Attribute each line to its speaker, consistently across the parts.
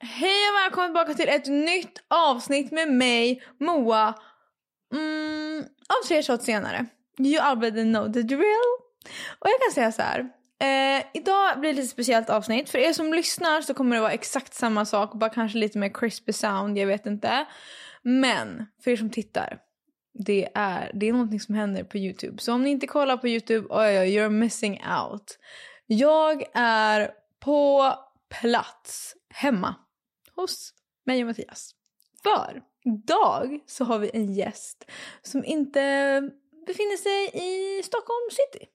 Speaker 1: Hej och välkommen tillbaka till ett nytt avsnitt med mig, Moa. Mm, av tre shots senare. You already know the drill. Och jag kan säga så här. Eh, idag blir det lite speciellt avsnitt. För er som lyssnar så kommer det vara exakt samma sak. Bara kanske lite mer crispy sound, jag vet inte. Men för er som tittar. Det är, det är någonting som händer på Youtube. Så om ni inte kollar på Youtube, oj, oj, you're missing out. Jag är på plats hemma hos mig och Mattias. För idag så har vi en gäst som inte befinner sig i Stockholm city.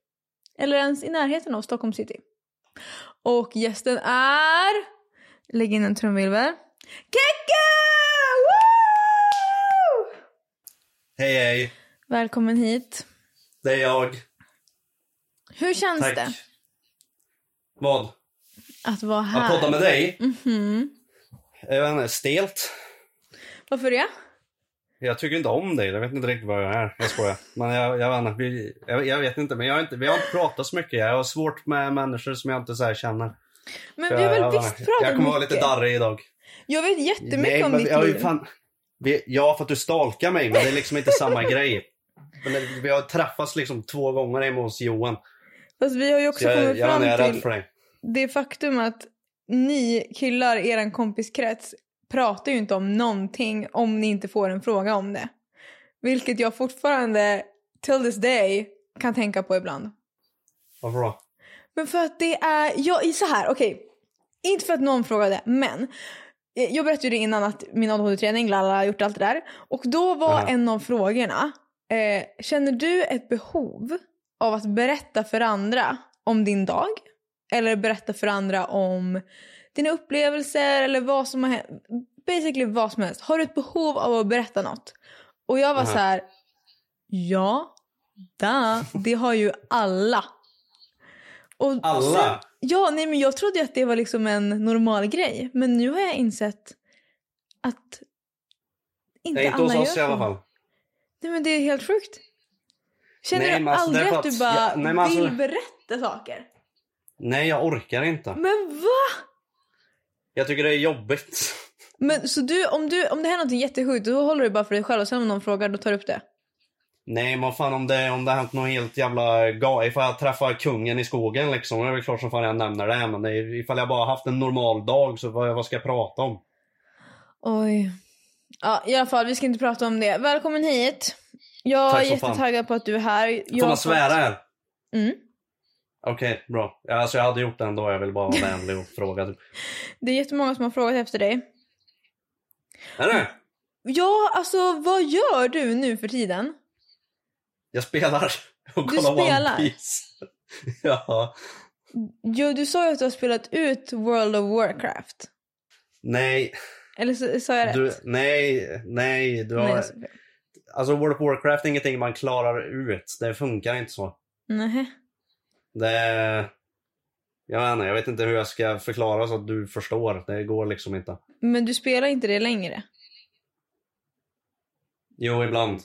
Speaker 1: Eller ens i närheten av Stockholm city. Och gästen är... Lägg in en trumvirvel. Keke! Woo!
Speaker 2: Hej hej,
Speaker 1: Välkommen hit.
Speaker 2: det är jag.
Speaker 1: Hur känns
Speaker 2: Tack.
Speaker 1: det
Speaker 2: Vad?
Speaker 1: att vara
Speaker 2: Att podda
Speaker 1: här?
Speaker 2: med dig?
Speaker 1: Mhm.
Speaker 2: Jag vet inte, stelt.
Speaker 1: Varför det?
Speaker 2: Jag tycker inte om dig, jag vet inte riktigt vad jag är. Jag skojar. Men jag, jag, vet inte, vi, jag, jag vet inte, men jag har inte, vi har inte pratat så mycket. Jag har svårt med människor som jag inte så här känner.
Speaker 1: Men
Speaker 2: Så
Speaker 1: vi har
Speaker 2: jag,
Speaker 1: väl
Speaker 2: jag,
Speaker 1: visst
Speaker 2: jag,
Speaker 1: pratat
Speaker 2: jag kommer vara lite
Speaker 1: mycket?
Speaker 2: darrig idag.
Speaker 1: Jag vet jättemycket om
Speaker 2: men
Speaker 1: ditt
Speaker 2: jag,
Speaker 1: liv.
Speaker 2: Fan, vi, ja, för att du stalkar mig, men det är liksom inte samma grej. Men det, vi har träffats liksom två gånger hemma hos Johan.
Speaker 1: Fast vi har ju
Speaker 2: Så
Speaker 1: också
Speaker 2: jag, jag,
Speaker 1: kommit
Speaker 2: jag,
Speaker 1: fram
Speaker 2: är
Speaker 1: till
Speaker 2: rädd för dig.
Speaker 1: det faktum att ni killar i er kompiskrets pratar ju inte om någonting om ni inte får en fråga om det. Vilket jag fortfarande, till this day, kan tänka på ibland.
Speaker 2: Varför då?
Speaker 1: Men för att det är, jag, så här, okej. Inte för att någon frågade, men. eh, Jag berättade ju det innan att min ADHD-utredning, lalla, har gjort allt det där. Och då var
Speaker 2: Ja.
Speaker 1: en av frågorna, eh, känner du ett behov av att berätta för andra om din dag? Eller berätta för andra om dina upplevelser eller vad som har hänt. Basically vad som helst. Har du ett behov av att berätta något? Och jag var
Speaker 2: Aha.
Speaker 1: så här, ja, da, det har ju alla. Och
Speaker 2: Alla?
Speaker 1: Sen, ja, nej, men jag trodde ju att det var liksom en normal grej. Men nu har jag insett att inte,
Speaker 2: Nej, inte
Speaker 1: alla
Speaker 2: hos
Speaker 1: gör
Speaker 2: oss i alla
Speaker 1: så.
Speaker 2: fall.
Speaker 1: Nej men det är helt sjukt. Känner
Speaker 2: Nej,
Speaker 1: du
Speaker 2: men alltså,
Speaker 1: aldrig
Speaker 2: det är
Speaker 1: att,
Speaker 2: för
Speaker 1: du
Speaker 2: att-
Speaker 1: bara
Speaker 2: ja, nej, men alltså-
Speaker 1: vill berätta saker?
Speaker 2: Nej, jag orkar inte.
Speaker 1: Men va?
Speaker 2: Jag tycker det är jobbigt.
Speaker 1: Men så du, om, du, om det här är något jättesjukt då håller du bara för dig själv och sen om någon frågar då tar du upp det?
Speaker 2: Nej men vad fan om det, om det har hänt något helt jävla galet. Ifall jag träffar kungen i skogen liksom. Det är väl klart som fan jag nämner det. Men det är, ifall jag bara haft en normal dag så vad, vad ska jag prata om?
Speaker 1: Oj. Ja i alla fall vi ska inte prata om det. Välkommen hit. Jag
Speaker 2: Tack
Speaker 1: är
Speaker 2: så fan.
Speaker 1: jättetaggad på att du är här. Jag
Speaker 2: Får
Speaker 1: har
Speaker 2: man
Speaker 1: fått-
Speaker 2: svära här?
Speaker 1: Mm.
Speaker 2: Okej, bra. Ja, Alltså jag hade gjort det ändå. Jag vill bara vara vänlig och fråga. typ.
Speaker 1: Det är jättemånga som har frågat efter dig.
Speaker 2: Är det?
Speaker 1: Ja alltså vad gör du nu för tiden?
Speaker 2: Jag spelar. Och
Speaker 1: Du
Speaker 2: kollar
Speaker 1: spelar?
Speaker 2: One Piece. ja.
Speaker 1: Jo du sa ju att du har spelat ut World of Warcraft.
Speaker 2: Nej.
Speaker 1: Eller så, sa jag rätt?
Speaker 2: Du, nej. Nej. Du
Speaker 1: Nej,
Speaker 2: har,
Speaker 1: jag sa fel.
Speaker 2: alltså World of Warcraft är ingenting man klarar ut. Det funkar inte så.
Speaker 1: Nähä.
Speaker 2: Det... Jag vet, inte, jag vet inte hur jag ska förklara så att du förstår. Det går liksom inte.
Speaker 1: Men du spelar inte det längre?
Speaker 2: Jo, ibland.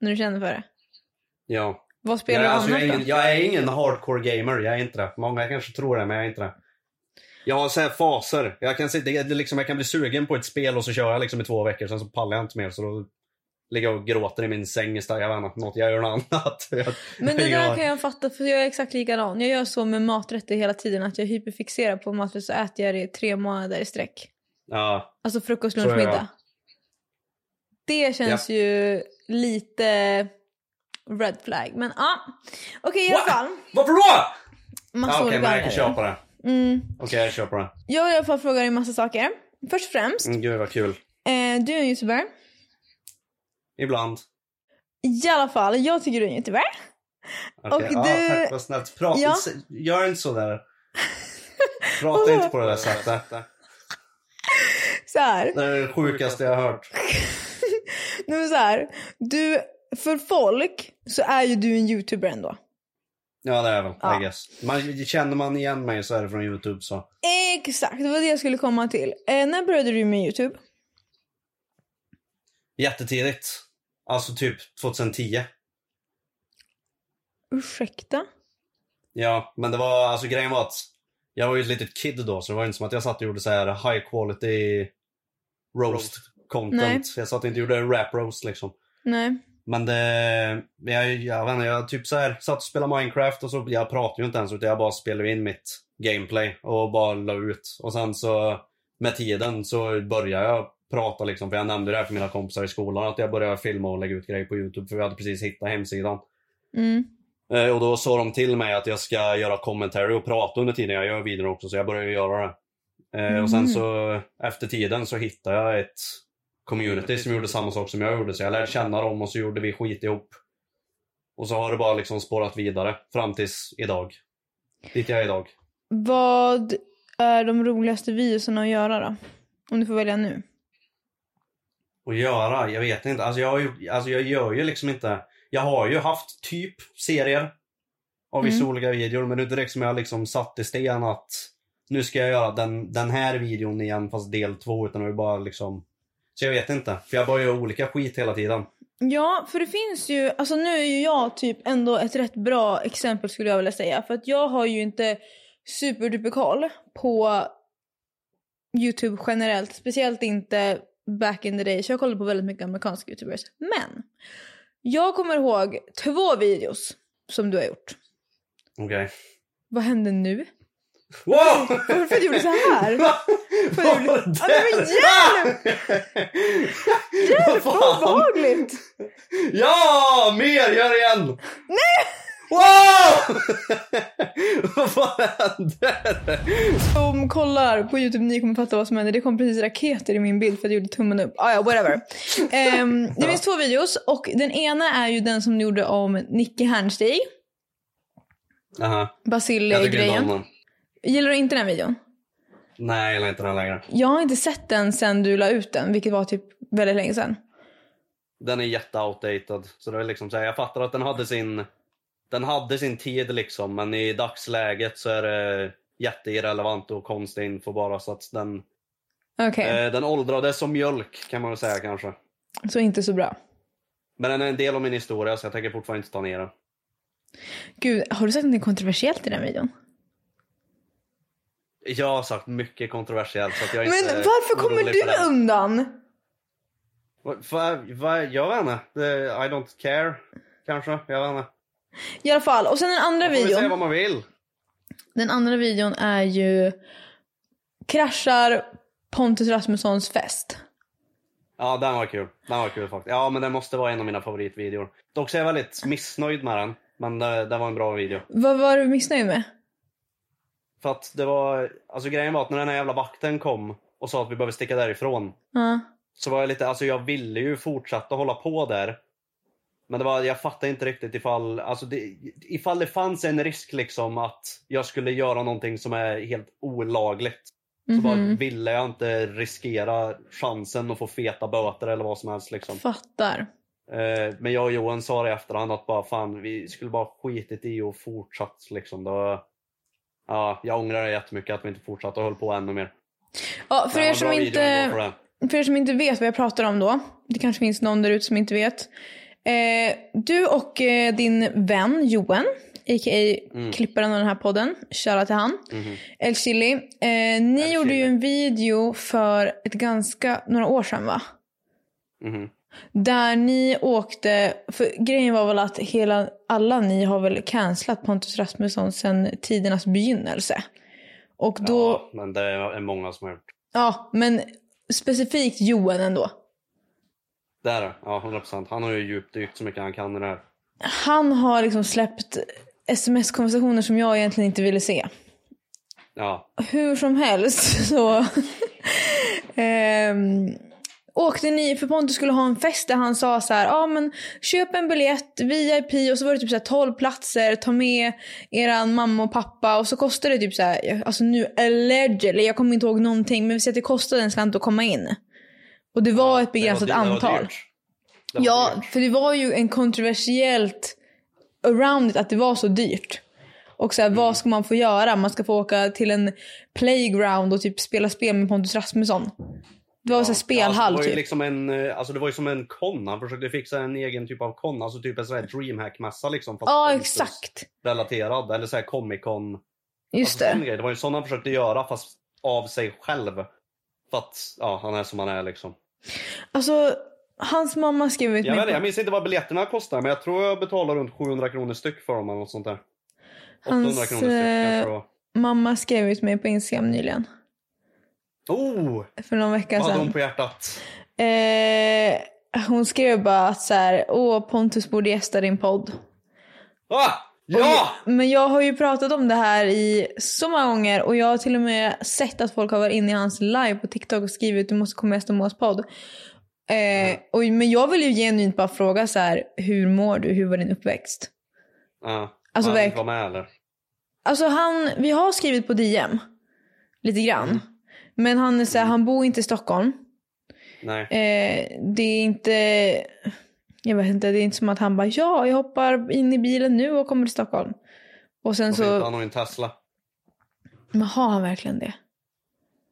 Speaker 1: När du känner för det?
Speaker 2: Ja.
Speaker 1: Vad spelar
Speaker 2: jag,
Speaker 1: du
Speaker 2: alltså, jag,
Speaker 1: annat
Speaker 2: är
Speaker 1: då?
Speaker 2: ingen, jag är ingen hardcore gamer. Jag är inte det. Många kanske tror det, men jag är inte det. Jag har så här faser. Jag kan, sitta, det är liksom, jag kan bli sugen på ett spel och så kör jag liksom i två veckor. Sen så pallar jag inte mer. Så då ligger jag och gråter i min säng istället. Jag vet inte, något, jag gör något annat. Jag,
Speaker 1: Men det där
Speaker 2: jag,
Speaker 1: kan jag fatta för jag är exakt likadan. Jag gör så med maträtter hela tiden att jag hyperfixerar på maträtt så äter jag det i tre månader i sträck.
Speaker 2: Ja,
Speaker 1: Alltså frukost,
Speaker 2: Så är
Speaker 1: lunch,
Speaker 2: jag.
Speaker 1: middag. Det känns ju lite red flag. Men ja, okej i alla
Speaker 2: What?
Speaker 1: fall.
Speaker 2: varför då?
Speaker 1: Massa
Speaker 2: Ja, Okej,
Speaker 1: olika
Speaker 2: men jag kan
Speaker 1: anledningar.
Speaker 2: köpa det.
Speaker 1: mm.
Speaker 2: Okej, jag köper det.
Speaker 1: Jag har i alla fall frågar dig en massa saker. Först och främst,
Speaker 2: Mm, Gud vad kul.
Speaker 1: eh, du är en youtuber.
Speaker 2: Ibland.
Speaker 1: I alla fall, jag tycker du är en youtuber.
Speaker 2: Okej,
Speaker 1: Och
Speaker 2: ja,
Speaker 1: du-
Speaker 2: Tack, vad snällt. Prata,
Speaker 1: Ja.
Speaker 2: Gör inte så där. Prata inte på det där sättet.
Speaker 1: Så här.
Speaker 2: Det är det sjukaste jag har hört.
Speaker 1: Nej, men så här, du, för folk så är ju du en youtuber ändå.
Speaker 2: Ja, det är jag väl.
Speaker 1: Ja.
Speaker 2: I guess. Man, känner man igen mig så är det från Youtube. Så.
Speaker 1: Exakt, det var det jag skulle komma till. Eh, när började du med youtube?
Speaker 2: Jättetidigt. Alltså typ 2010.
Speaker 1: Ursäkta?
Speaker 2: Ja, men det var, alltså grejen var att jag var ju ett litet kid då, så det var inte som att jag satt och gjorde så här high quality roast content. Jag satt och inte och gjorde rap roast liksom.
Speaker 1: Nej.
Speaker 2: Men det, men jag, jag vet inte, jag typ så här satt och spelade Minecraft och så, jag pratade ju inte ens utan jag bara spelade in mitt gameplay och bara la ut. Och sen så med tiden så började jag prata liksom, för jag nämnde det här för mina kompisar i skolan att jag började filma och lägga ut grejer på Youtube för vi hade precis hittat hemsidan.
Speaker 1: Mm.
Speaker 2: Eh, Och då sa de till mig att jag ska göra commentary och prata under tiden jag gör videon också, så jag började göra det. Eh, Och sen
Speaker 1: Mhm.
Speaker 2: så efter tiden så hittade jag ett community som gjorde samma sak som jag gjorde, så jag lärde känna dem och så gjorde vi skit ihop. Och så har det bara liksom spårat vidare fram tills idag. Dit jag är idag.
Speaker 1: Vad är de roligaste videorna att göra då? Om du får välja nu.
Speaker 2: Och göra, jag vet inte. Alltså jag, har ju, alltså jag gör ju liksom inte... Jag har ju haft typ serier av vissa
Speaker 1: Mm.
Speaker 2: olika videor men det är inte direkt som jag liksom satt i sten att nu ska jag göra den, den här videon igen fast del två utan det är bara liksom... Så jag vet inte. För jag bara gör olika skit hela tiden.
Speaker 1: Ja, för det finns ju, alltså nu är ju jag typ ändå ett rätt bra exempel skulle jag vilja säga. För att jag har ju inte superduper koll på Youtube generellt. Speciellt inte back in the day. Så jag kollade på väldigt mycket amerikanska Youtubers. Men! Jag kommer ihåg två videos som du har gjort.
Speaker 2: Okej.
Speaker 1: Vad hände nu?
Speaker 2: Wow!
Speaker 1: Varför gjorde du så här? Varför
Speaker 2: Vad
Speaker 1: gjorde du...
Speaker 2: var det
Speaker 1: Ja, men hjälp!
Speaker 2: Vad
Speaker 1: Hjälp! Vad
Speaker 2: fan?
Speaker 1: obehagligt!
Speaker 2: Ja! Mer! Gör igen! Nej! Wow! Vad fan hände?
Speaker 1: som kollar på Youtube, ni kommer fatta vad som händer. Det kom precis raketer i min bild för att jag gjorde tummen upp. Ah, ja, whatever. Ehm, det finns två videos och den ena är ju den som du gjorde om Nicky Hernstig.
Speaker 2: Aha. Jag tycker inte om
Speaker 1: Basile-grejen.
Speaker 2: den.
Speaker 1: Gillar du inte den videon?
Speaker 2: Nej, jag gillar inte den längre.
Speaker 1: Jag har inte sett den sen du la ut den, vilket var typ väldigt länge sedan.
Speaker 2: Den är jätteoutdated. Så det är liksom så här, jag fattar att den hade sin den hade sin tid liksom, men i dagsläget så är det jätteirrelevant och konstig info bara. Så att den,
Speaker 1: Okej,
Speaker 2: eh, den åldrades som mjölk kan man väl säga kanske.
Speaker 1: så inte så bra.
Speaker 2: Men den är en del av min historia så jag tänker fortfarande inte ta ner den.
Speaker 1: Gud, har du sagt något kontroversiellt i den videon?
Speaker 2: Jag har sagt mycket kontroversiellt så att jag är
Speaker 1: Men
Speaker 2: inte
Speaker 1: varför kommer
Speaker 2: orolig för
Speaker 1: du
Speaker 2: den.
Speaker 1: undan?
Speaker 2: Vad- vad- vad- Jag vet inte. Det- I don't care. Kanske. Jag vet inte.
Speaker 1: I alla fall, och sen den andra
Speaker 2: Man får väl säga
Speaker 1: videon.
Speaker 2: vad man vill.
Speaker 1: Den andra videon är ju kraschar Pontus Rasmussons fest.
Speaker 2: Ja, den var kul. Den var kul faktiskt. Ja, men den måste vara en av mina favoritvideor. Dock så är jag väldigt missnöjd med den. Men det, det var en bra video.
Speaker 1: Vad var du missnöjd med?
Speaker 2: För att det var... Alltså grejen var att när den här jävla vakten kom och sa att vi behöver sticka därifrån.
Speaker 1: Ja.
Speaker 2: Så var jag lite... Alltså jag ville ju fortsätta hålla på där. Men det var, jag fattade inte riktigt ifall... Alltså det, ifall det fanns en risk liksom att jag skulle göra någonting som är helt olagligt. Så bara
Speaker 1: Mhm.
Speaker 2: ville jag inte riskera chansen att få feta böter eller vad som helst liksom.
Speaker 1: Fattar.
Speaker 2: Eh, Men jag och Johan sa det i efterhand att bara fan, vi skulle bara skitit i och fortsatt liksom. Det var, ja, jag ångrar det jättemycket att vi inte fortsatte och höll på ännu mer.
Speaker 1: Ja, för,
Speaker 2: Men
Speaker 1: er
Speaker 2: vad
Speaker 1: som
Speaker 2: bra video
Speaker 1: inte,
Speaker 2: ändå för det.
Speaker 1: för er som inte vet vad jag pratar om då. Det kanske finns någon där ute som inte vet. Eh, du och eh, din vän Johan, a.k.a.
Speaker 2: Mm.
Speaker 1: klipparen av den här podden, shoutout till han,
Speaker 2: Mhm.
Speaker 1: El Chili. Eh, ni
Speaker 2: El
Speaker 1: gjorde ju
Speaker 2: Chili.
Speaker 1: en video för ett ganska, några år sedan va?
Speaker 2: Mhm.
Speaker 1: Där ni åkte, för grejen var väl att hela, alla ni har väl cancelat Pontus Rasmusson sedan tidernas begynnelse. Och då,
Speaker 2: Ja, men det är många som har gjort.
Speaker 1: ja men specifikt Johan ändå.
Speaker 2: Där, ja 100%. Han har ju djupdykt så mycket han kan i det här.
Speaker 1: Han har liksom släppt sms-konversationer som jag egentligen inte ville se.
Speaker 2: Ja,
Speaker 1: Hur som helst så ehm, åkte ni, för Pontus skulle ha en fest där han sa så här, ja ah, men köp en biljett, VIP och så var det typ så här 12 platser, ta med eran mamma och pappa och så kostade det typ så här, alltså nu allegedly, jag kommer inte ihåg någonting men vi säger att det kostade en slant att komma in. Och det var ett
Speaker 2: det
Speaker 1: begränsat
Speaker 2: dy- det var
Speaker 1: antal.
Speaker 2: dyrt. Det var
Speaker 1: ja,
Speaker 2: dyrt.
Speaker 1: för det var ju en kontroversiellt around it att det var så dyrt. Och så här,
Speaker 2: Mm.
Speaker 1: vad ska man få göra? Man ska få åka till en playground och typ spela spel med Pontus Rasmusson. Det var så här spelhall
Speaker 2: alltså, det var ju
Speaker 1: typ.
Speaker 2: liksom en, eh, alltså det var ju som en kon. Han försökte fixa en egen typ av kon. Alltså typ en sån här DreamHack-mässa liksom. fast
Speaker 1: Ja,
Speaker 2: Pontus
Speaker 1: exakt.
Speaker 2: Relaterad. Eller så här Comic Con.
Speaker 1: Just
Speaker 2: Alltså, sån
Speaker 1: det.
Speaker 2: grej. det var ju sån han försökte göra fast av sig själv. För att ja, han är som han är liksom.
Speaker 1: Alltså, hans mamma skrev ut
Speaker 2: Jag, vet,
Speaker 1: mig.
Speaker 2: inte, jag
Speaker 1: på-
Speaker 2: minns inte vad biljetterna kostar men jag tror jag betalade runt 700 kronor styck för dem eller något sånt där. 800
Speaker 1: Hans, eh,
Speaker 2: kronor styck kanske det var.
Speaker 1: Mamma skrev ut mig på Instagram nyligen.
Speaker 2: Oh!
Speaker 1: För någon vecka
Speaker 2: Vad hade
Speaker 1: sedan.
Speaker 2: hon på hjärtat?
Speaker 1: Eh, hon skrev bara att så här, åh Pontus borde gästa din podd.
Speaker 2: Ah! Ja!
Speaker 1: Men jag har ju pratat om det här i så många gånger och jag har till och med sett att folk har varit inne i hans live på TikTok och skrivit du måste komma och gästa Moas podd. Eh, och, men jag vill ju genuint bara fråga så här, hur mår du? Hur var din uppväxt?
Speaker 2: Ja.
Speaker 1: Alltså,
Speaker 2: han
Speaker 1: verk-
Speaker 2: var med eller?
Speaker 1: Alltså han, vi har skrivit på DM. Lite grann.
Speaker 2: Mm.
Speaker 1: Men han, är så här, han bor inte i Stockholm.
Speaker 2: Nej.
Speaker 1: Eh, det är inte... Jag vet inte, det är inte som att han bara ja, jag hoppar in i bilen nu och kommer till Stockholm. Och sen
Speaker 2: Och så...
Speaker 1: så...
Speaker 2: Han har ju en Tesla.
Speaker 1: Men har han verkligen det?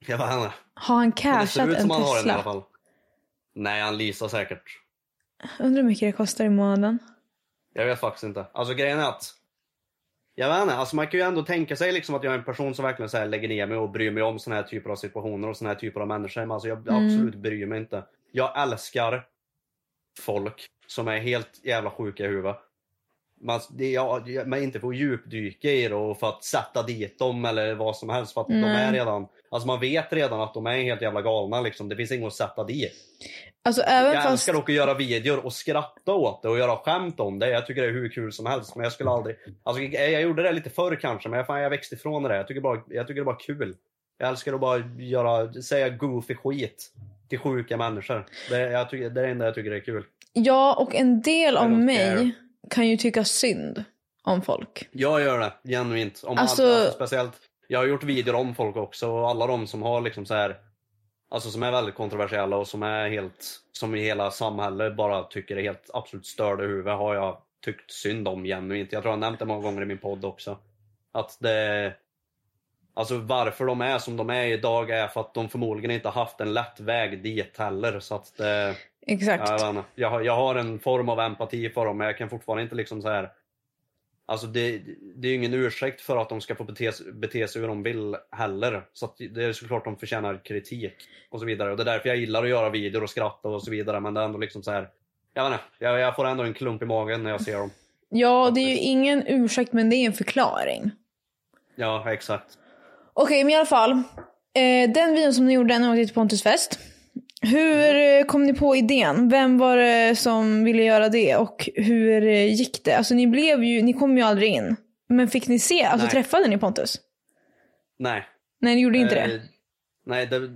Speaker 2: Jag bara, han är.
Speaker 1: Har han
Speaker 2: Men det ser
Speaker 1: cashat
Speaker 2: ut
Speaker 1: en
Speaker 2: som han har den i alla
Speaker 1: Tesla?
Speaker 2: fall. Nej, han leasar säkert.
Speaker 1: Undrar hur mycket det kostar i månaden.
Speaker 2: Jag vet faktiskt inte. Alltså grejen är att... Jag vet inte, alltså man kan ju ändå tänka sig liksom att jag är en person som verkligen så här lägger ner mig och bryr mig om såna här typer av situationer och såna här typer av människor. Men alltså jag
Speaker 1: Mm.
Speaker 2: absolut bryr mig inte. Jag älskar folk som är helt jävla sjuka i huvudet. Man, det, jag, jag, men inte för att djupdyka i det och för att sätta dit dem eller vad som helst. För att de
Speaker 1: Nej.
Speaker 2: är redan... Alltså man vet redan att de är helt jävla galna liksom. Det finns inget att sätta dit.
Speaker 1: Alltså även
Speaker 2: Jag
Speaker 1: fast...
Speaker 2: älskar dock att göra videor och skratta åt det och göra skämt om det. Jag tycker det är hur kul som helst. Men jag skulle aldrig... Alltså, jag jag gjorde det lite förr kanske, men jag, fan, jag växte ifrån det. Jag tycker, bara, jag tycker det är bara kul. Jag älskar att bara göra, säga goofy skit till sjuka människor. Det, jag tycker, det är det enda jag tycker är kul.
Speaker 1: Ja, och en del av
Speaker 2: don't
Speaker 1: mig
Speaker 2: care.
Speaker 1: kan ju tycka synd om folk.
Speaker 2: Jag gör det genuint. Om
Speaker 1: Alltså-
Speaker 2: alla, alltså, speciellt, jag har gjort videor om folk också och alla de som har liksom så här, alltså som är väldigt kontroversiella och som är helt, som i hela samhället bara tycker är helt absolut störda i huvudet har jag tyckt synd om genuint. Jag tror jag har nämnt det många gånger i min podd också. Att det, alltså varför de är som de är idag är för att de förmodligen inte har haft en lätt väg dit heller. Så att det,
Speaker 1: Exakt.
Speaker 2: Ja, jag, vet inte. jag, har, jag har en form av empati för dem men jag kan fortfarande inte liksom så här. Alltså det, det är ju ingen ursäkt för att de ska få bete, sig- bete sig hur de vill heller. Så att det är såklart de förtjänar kritik och så vidare. Och det är därför jag gillar att göra videor och skratta och så vidare. Men det är ändå liksom så här. Jag vet inte, jag, jag får ändå en klump i magen när jag ser dem.
Speaker 1: ja, det är ju ingen ursäkt men det är en förklaring.
Speaker 2: Ja, exakt.
Speaker 1: Okej, men i alla fall. Eh, den videon som ni gjorde när ni åkte till Pontus fest. Hur
Speaker 2: Mm.
Speaker 1: eh, kom ni på idén? Vem var det som ville göra det och hur eh, gick det? Alltså ni blev ju, ni kom ju aldrig in. Men fick ni se, alltså
Speaker 2: Nej.
Speaker 1: träffade ni Pontus?
Speaker 2: Nej,
Speaker 1: Nej, ni gjorde inte
Speaker 2: Eh,
Speaker 1: det.
Speaker 2: Nej, det,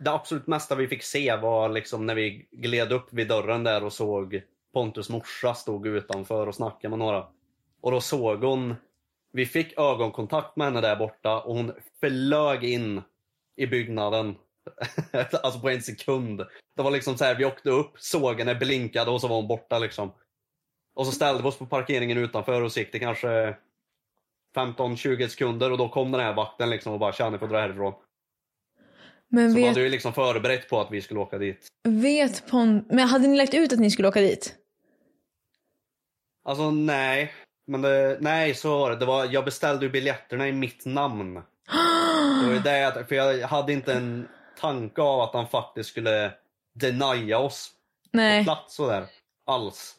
Speaker 2: det absolut mesta vi fick se var liksom när vi gled upp vid dörren där och såg Pontus morsa stod utanför och snackade med några. Och då såg hon, vi fick ögonkontakt med henne där borta och hon flög in i byggnaden. alltså på en sekund. Det var liksom så här, vi åkte upp, såg henne, blinkade och så var hon borta liksom. Och så ställde vi oss på parkeringen utanför och så gick det kanske 15-20 sekunder och då kom den här vakten liksom och bara “tja, ni får dra härifrån”.
Speaker 1: Men
Speaker 2: Så man
Speaker 1: vet,
Speaker 2: hade ju liksom förberett på att vi skulle åka dit.
Speaker 1: vet Pontus, men hade ni lagt ut att ni skulle åka dit?
Speaker 2: Alltså nej. Men det, nej, så var det. det var, jag beställde ju biljetterna i mitt namn. Det var ju det, jag- för jag hade inte en tanke av att han faktiskt skulle denia oss på
Speaker 1: Nej.
Speaker 2: plats och där. Alls.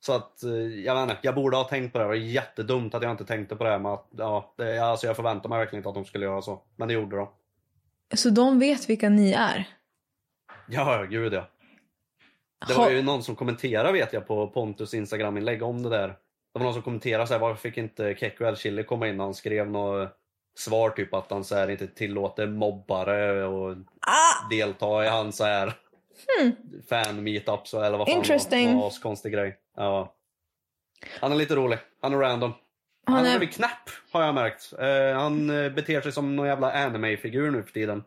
Speaker 2: Så att, eh, jag vet inte, jag borde ha tänkt på det. Det var jättedumt att jag inte tänkte på det. här med att, ja, det alltså jag förväntade mig verkligen inte att de skulle göra så. Men det gjorde de.
Speaker 1: Så de vet vilka ni är?
Speaker 2: Ja, gud ja. Det
Speaker 1: Ha-
Speaker 2: var ju någon som kommenterade vet jag på Pontus Instagram-inlägg om det där. Det var någon som kommenterade så här, varför fick inte Kekko El Chili komma in? Han skrev något svar typ att han så här, inte tillåter mobbare och
Speaker 1: Ah!
Speaker 2: delta i hans så här fan meetups eller vad fan
Speaker 1: Hmm. Interesting.
Speaker 2: det var. Det var konstig grej. Ja. Han är lite rolig. Han är random. Han,
Speaker 1: Han
Speaker 2: är
Speaker 1: är-
Speaker 2: väldigt knäpp har jag märkt. Eh, han eh, beter sig som någon jävla anime-figur nu för tiden.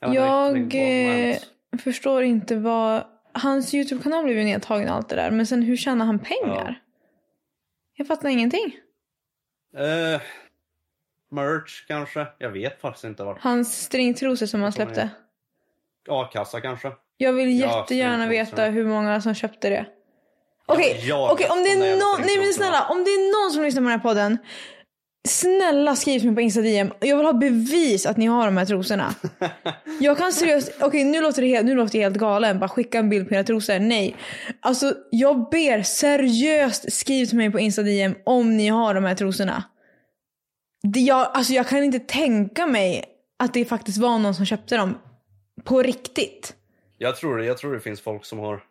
Speaker 2: vet inte
Speaker 1: Jag
Speaker 2: riktigt vad som har hänt.
Speaker 1: eh, förstår inte vad hans YouTube-kanal blev ju nedtagen och allt det där. Men sen hur tjänar han pengar? Jag fattar ingenting.
Speaker 2: Eh, merch kanske? Jag vet faktiskt inte vart.
Speaker 1: Hans stringtrosor som han släppte.
Speaker 2: A-kassa kanske?
Speaker 1: Jag vill
Speaker 2: Ja,
Speaker 1: jättegärna
Speaker 2: stringtrosor.
Speaker 1: veta hur många som köpte det. Okej,
Speaker 2: jag
Speaker 1: okej,
Speaker 2: vet
Speaker 1: om det
Speaker 2: de där
Speaker 1: är
Speaker 2: jävla
Speaker 1: någon, nej men
Speaker 2: stringtrosorna.
Speaker 1: snälla, om det är någon som lyssnar på den här podden. Snälla skriv till mig på Insta DM. Jag vill ha bevis att ni har de här trosorna. Jag kan seriöst, okej nu låter det helt, nu låter jag helt galen. Bara skicka en bild på era trosor. Nej. Alltså jag ber seriöst skriv till mig på Insta DM om ni har de här trosorna. Det, jag, alltså jag kan inte tänka mig att det faktiskt var någon som köpte dem. På riktigt.
Speaker 2: Jag tror, det- jag tror det finns folk som har...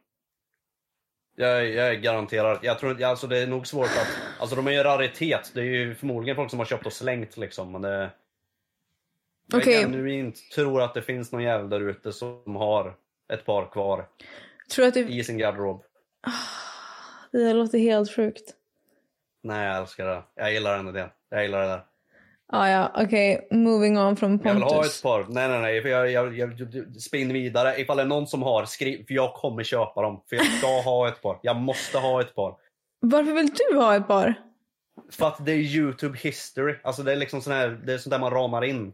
Speaker 2: Jag, jag garanterar. Jag tror, inte- alltså det är nog svårt att... Alltså de är ju raritet. Det är ju förmodligen folk som har köpt och slängt liksom. Men det, jag
Speaker 1: Okej.
Speaker 2: genuint tror att det finns någon jävel där ute som har ett par kvar
Speaker 1: Tror du att det,
Speaker 2: i sin garderob.
Speaker 1: det där låter helt sjukt.
Speaker 2: Nej, jag älskar det. Jag gillar den idén. Jag gillar det där.
Speaker 1: Ah, ja, okej. Moving on från
Speaker 2: Jag vill ha
Speaker 1: Pontus.
Speaker 2: ett par. Nej, nej, nej. För jag, jag, jag, jag, spinn vidare. Ifall det är någon som har, skriv. För jag kommer köpa dem. För jag ska ha ett par. Jag måste ha ett par.
Speaker 1: Varför vill du ha ett par?
Speaker 2: För att det är YouTube history. Alltså det är liksom sån här, det är sånt där man ramar in.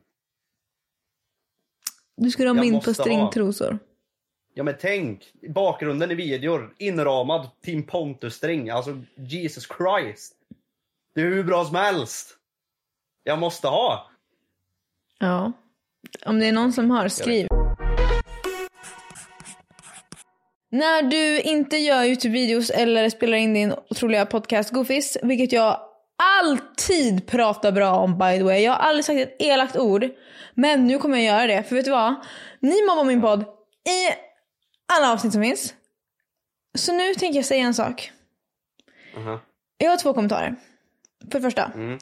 Speaker 1: Du ska rama
Speaker 2: Jag
Speaker 1: in på
Speaker 2: måste ha.
Speaker 1: stringtrosor.
Speaker 2: Ja men tänk, bakgrunden i videor, inramad Tim Pontus-string. Alltså Jesus Christ. Det är hur bra som helst. Jag måste ha.
Speaker 1: Ja. Om det är någon som har, skriv. När du inte gör Youtube-videos eller spelar in din otroliga podcast Goofies, vilket jag alltid pratar bra om by the way. Jag har aldrig sagt ett elakt ord. Men nu kommer jag göra det, för vet du vad? Ni mobbar min podd i alla avsnitt som finns. Så nu tänker jag säga en sak.
Speaker 2: Aha.
Speaker 1: Jag har två kommentarer. För det första.
Speaker 2: Mm.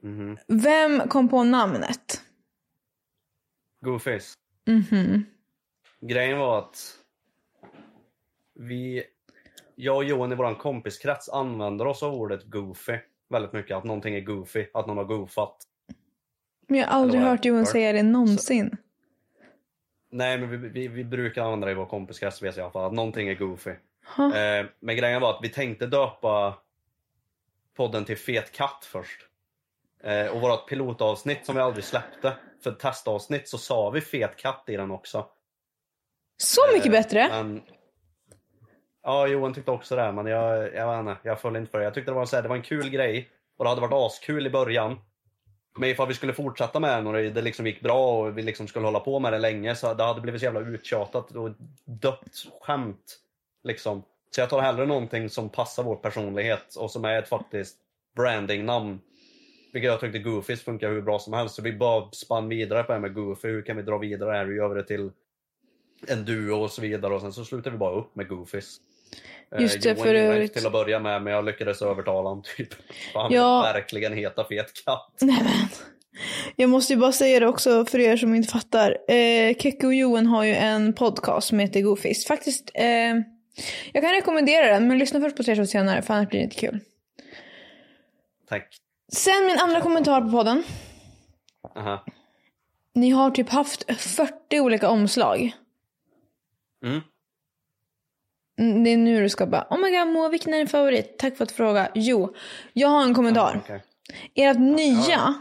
Speaker 2: Mhm.
Speaker 1: Vem kom på namnet?
Speaker 2: Goofies.
Speaker 1: Mhm.
Speaker 2: Grejen var att vi, jag och Johan i vår kompiskrets använder oss av ordet goofy väldigt mycket. Att någonting är goofy, att någon har goofat.
Speaker 1: Men jag har aldrig
Speaker 2: Eller vad
Speaker 1: hört
Speaker 2: jag
Speaker 1: Johan
Speaker 2: hör.
Speaker 1: säga det någonsin.
Speaker 2: Nej men vi, vi, vi brukar använda det i vår kompiskrets vet jag i alla fall. Att någonting är goofy.
Speaker 1: Ha.
Speaker 2: Eh, men grejen var att vi tänkte döpa podden till Fet katt först. Eh, och vårt pilotavsnitt som vi aldrig släppte, för ett testavsnitt, så sa vi Fet katt i den också.
Speaker 1: Så mycket
Speaker 2: Eh,
Speaker 1: bättre!
Speaker 2: Men... Ja, Johan tyckte också det, här, men jag, jag, vet inte, jag föll inte för det. Jag tyckte det var, en, så här, det var en kul grej och det hade varit askul i början. Men ifall vi skulle fortsätta med den och det det liksom gick bra och vi liksom skulle hålla på med det länge så det hade blivit så jävla uttjatat och dött skämt. Liksom. Så jag tar hellre någonting som passar vår personlighet och som är ett faktiskt brandingnamn. Vilket jag tyckte Goofies funkar hur bra som helst. Så vi bara spann vidare på det här med Goofy. Hur kan vi dra vidare det här? Hur gör vi det till en duo och så vidare och sen så slutade vi bara upp med Goofies. Eh,
Speaker 1: Just det,
Speaker 2: Johan
Speaker 1: för
Speaker 2: gillade
Speaker 1: övrigt.
Speaker 2: inte till att börja med men jag lyckades övertala honom typ. Han
Speaker 1: Ja.
Speaker 2: ja. verkligen heta fet katt.
Speaker 1: Nej men. Jag måste ju bara säga det också för er som inte fattar. Eh, Keke och Johan har ju en podcast som heter Goofies. Faktiskt, eh, jag kan rekommendera den men lyssna först på tre shots senare för annars blir det inte kul.
Speaker 2: Tack.
Speaker 1: Sen min andra kommentar på podden.
Speaker 2: Aha.
Speaker 1: Ni har typ haft 40 olika omslag.
Speaker 2: Mm.
Speaker 1: Mm, Det är nu du ska bara, oh my god Moa, vilken är din favorit? Tack för att fråga. Jo, jag har en kommentar.
Speaker 2: okej.
Speaker 1: Ert nya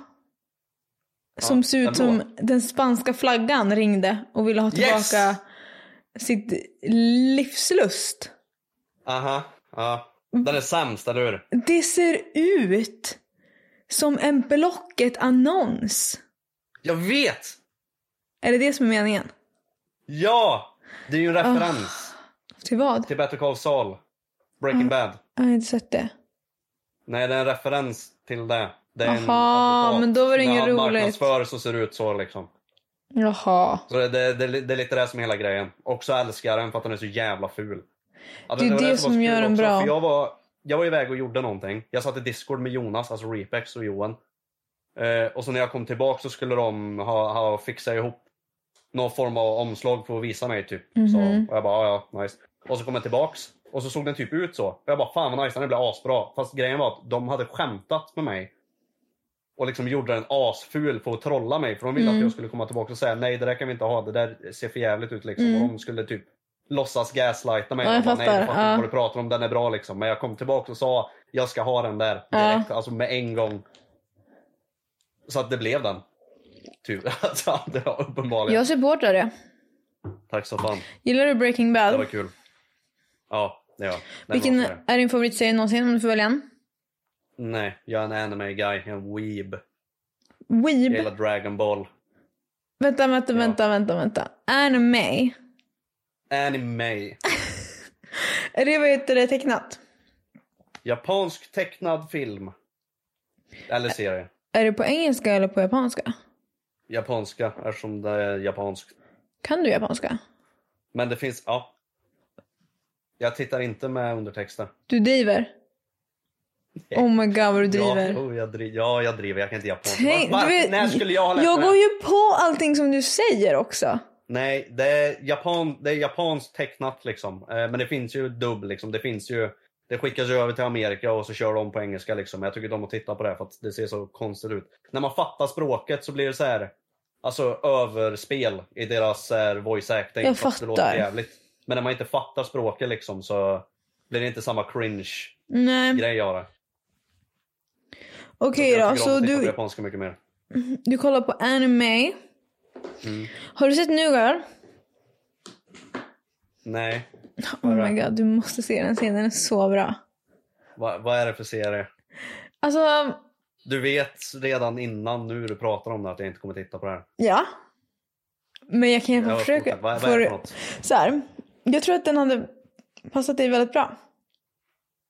Speaker 1: som
Speaker 2: Ja,
Speaker 1: ser ut
Speaker 2: den
Speaker 1: som
Speaker 2: blå.
Speaker 1: den spanska flaggan ringde och ville ha tillbaka sitt livslust.
Speaker 2: Aha. Ja.
Speaker 1: Mm.
Speaker 2: Den är sämst, eller hur?
Speaker 1: Det ser ut som en Blocket-annons.
Speaker 2: Jag vet!
Speaker 1: Är det det som är meningen?
Speaker 2: Ja! Det är ju en referens
Speaker 1: Ah, Till vad?
Speaker 2: till Better Call Saul.
Speaker 1: Mm.
Speaker 2: Breaking Bad.
Speaker 1: Jag har inte sett det.
Speaker 2: Nej, det är en referens till det. det är en
Speaker 1: Jaha,
Speaker 2: advokat.
Speaker 1: men då var det
Speaker 2: När
Speaker 1: inget
Speaker 2: han
Speaker 1: roligt.
Speaker 2: marknadsför så ser det ut så liksom.
Speaker 1: Jaha.
Speaker 2: Så det, det, det, det är lite det som är hela grejen. Och så älskar jag den för att den är så jävla ful. Ja,
Speaker 1: Det är
Speaker 2: var
Speaker 1: det
Speaker 2: var
Speaker 1: som
Speaker 2: så
Speaker 1: gör
Speaker 2: kul
Speaker 1: den
Speaker 2: också,
Speaker 1: bra.
Speaker 2: För jag, var, jag var iväg och gjorde någonting. Jag satt i Discord med Jonas, alltså Repex och Johan. Eh, och så när jag kom tillbaka så skulle de ha, ha fixat ihop någon form av omslag för att visa mig typ.
Speaker 1: Mhm.
Speaker 2: Så, och jag bara, ja, ja, nice. Och så kom jag tillbaks och så såg den typ ut så. Och jag bara, fan vad nice, den här blir asbra. Fast grejen var att de hade skämtat med mig. Och liksom gjorde den asful för att
Speaker 1: Mm.
Speaker 2: trolla mig. För de ville att jag skulle komma tillbaka och säga nej det där kan vi inte ha, det där ser för jävligt ut liksom. Och de skulle typ låtsas gaslighta
Speaker 1: Mm.
Speaker 2: mig.
Speaker 1: Ja, jag
Speaker 2: bara, Nej,
Speaker 1: fattar.
Speaker 2: jag fattar inte
Speaker 1: Ja.
Speaker 2: vad du pratar om, den är bra liksom. Men jag kom tillbaka och sa jag ska ha den där
Speaker 1: Ja.
Speaker 2: direkt, alltså med en gång. Så att det blev den. Tur. Alltså, det var uppenbarligen.
Speaker 1: Jag supportar det.
Speaker 2: Tack så fan.
Speaker 1: Gillar du Breaking Bad?
Speaker 2: Det var kul. Ja, det gör jag. Den
Speaker 1: Vilken
Speaker 2: var för det.
Speaker 1: är din favoritserie någonsin om du får välja en?
Speaker 2: Nej, jag är en anime guy. Jag är en weeb.
Speaker 1: Weeb.
Speaker 2: Jag gillar Dragon Ball.
Speaker 1: Vänta, vänta,
Speaker 2: Ja.
Speaker 1: vänta, vänta, vänta. Anime.
Speaker 2: Anime.
Speaker 1: Är det vad heter det tecknat?
Speaker 2: Japansk tecknad film. Eller serie.
Speaker 1: Är det på engelska eller på japanska?
Speaker 2: Japanska, eftersom det är japanskt.
Speaker 1: Kan du japanska?
Speaker 2: Men det finns, ja. Jag tittar inte med undertexter.
Speaker 1: Du driver? Oh my god vad du driver.
Speaker 2: Ja, oh, jag dri- ja, jag driver. Jag kan inte japanska.
Speaker 1: Tänk-
Speaker 2: Varför?
Speaker 1: du vet-
Speaker 2: När skulle jag ha lärt
Speaker 1: Jag
Speaker 2: mig det?
Speaker 1: går ju på allting som du säger också.
Speaker 2: Nej, det är, Japan, det är japanskt tecknat liksom. Eh, men det finns ju dubb liksom. Det finns ju... Det skickas ju över till Amerika och så kör de på engelska liksom. Jag tycker inte om att titta på det här för att det ser så konstigt ut. När man fattar språket så blir det så här... Alltså överspel i deras så här, voice acting.
Speaker 1: Jag
Speaker 2: för att Det
Speaker 1: fattar.
Speaker 2: låter jävligt. Men när man inte fattar språket liksom så blir det inte samma cringe-grej
Speaker 1: Nej,
Speaker 2: av det.
Speaker 1: okej
Speaker 2: jag
Speaker 1: då.
Speaker 2: tycker om
Speaker 1: Så
Speaker 2: att titta på
Speaker 1: du,
Speaker 2: japanska mycket mer.
Speaker 1: du kollar på anime.
Speaker 2: Mm.
Speaker 1: Har du sett New Girl?
Speaker 2: Nej.
Speaker 1: Oh
Speaker 2: Bara.
Speaker 1: my god, du måste se den scenen. Den är så bra.
Speaker 2: Va, vad är det för serie?
Speaker 1: Alltså,
Speaker 2: Du vet redan innan nu du pratar om det att jag inte kommer titta på det här.
Speaker 1: ja. Men jag kan ju
Speaker 2: Jag
Speaker 1: försöka.
Speaker 2: fortsätt. Vad, vad är det för
Speaker 1: För,
Speaker 2: något?
Speaker 1: så här, jag tror att den hade passat dig väldigt bra.